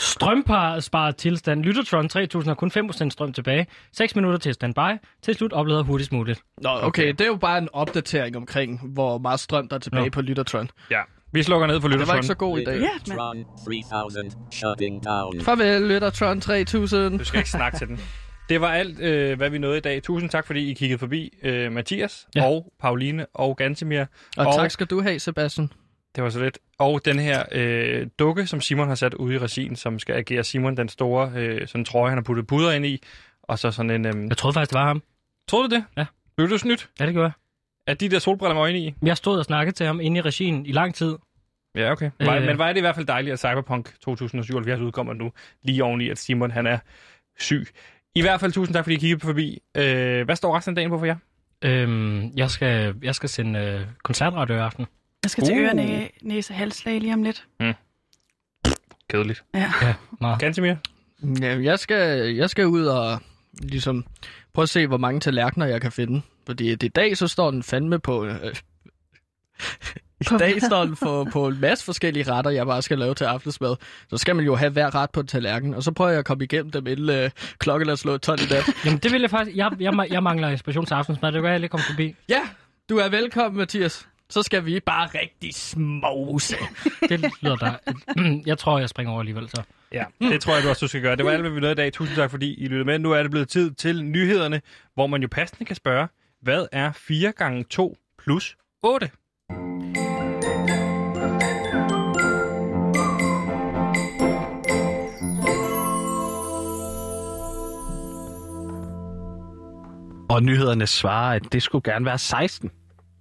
Strømpar sparet tilstand. Lyttertron 3000 har kun 5% strøm tilbage. 6 minutter til standby. Til slut oplader hurtigst muligt.
Nå, okay. okay, det er jo bare en opdatering omkring, hvor meget strøm der er tilbage
Nå.
på Lyttertron.
Ja. Vi slukker ned for
Det var
lytterstrøm.
ikke så god i dag.
Ja, mand.
Tron 3000 shutting down.
Farvel, Lyttertron 3000.
Du skal ikke snakke til den. Det var alt, øh, hvad vi nåede i dag. Tusind tak, fordi I kiggede forbi øh, Mathias ja.
Ja.
og Pauline og Gantemir.
Og, tak skal du have, Sebastian.
Det var så lidt. Og den her øh, dukke, som Simon har sat ude i regien, som skal agere Simon den store øh, sådan trøje, han har puttet puder ind i. Og så sådan en... Øh,
Jeg troede faktisk, det var ham.
troede du det?
Ja.
Blev du snydt?
Ja, det gjorde jeg.
Er de der solbriller med øjne i?
Jeg stod og snakkede til ham inde i regien i lang tid.
Ja, okay. Var,
Øh.
Men var det i hvert fald dejligt, at Cyberpunk 2077 udkommer nu, lige oveni, at Simon han er syg. I hvert fald tusind tak, fordi I kiggede forbi. Øh, hvad står resten af dagen på for jer?
Øhm, jeg, skal, jeg skal sende øh, koncertradio i aften.
Jeg skal til
Uh.
ørerne, næse og halslag lige om lidt.
Kedeligt.
Ja.
Ja, meget.
Gantemir?
Ja, jeg, skal, jeg skal ud og ligesom prøve at se, hvor mange tallerkener jeg kan finde. Fordi at i dag, så står den fandme på... Øh, I dag står den på, på en masse forskellige retter, jeg bare skal lave til aftensmad. Så skal man jo have hver ret på en tallerken, og så prøver jeg at komme igennem dem, inden øh, klokken er slået 12 i dag.
Jamen, det vil jeg faktisk... Jeg, jeg, ma- jeg mangler inspiration til aftensmad. Det kan jeg lige komme forbi.
Ja, du er velkommen, Mathias. Så skal vi bare rigtig smose.
Det lyder der. Jeg tror, jeg springer over alligevel, så.
Ja, det tror jeg du også, du skal gøre. Det var alt, hvad vi nåede i dag. Tusind tak, fordi I lyttede med. Nu er det blevet tid til nyhederne, hvor man jo passende kan spørge, hvad er 4 gange 2 plus 8?
Og nyhederne svarer, at det skulle gerne være 16.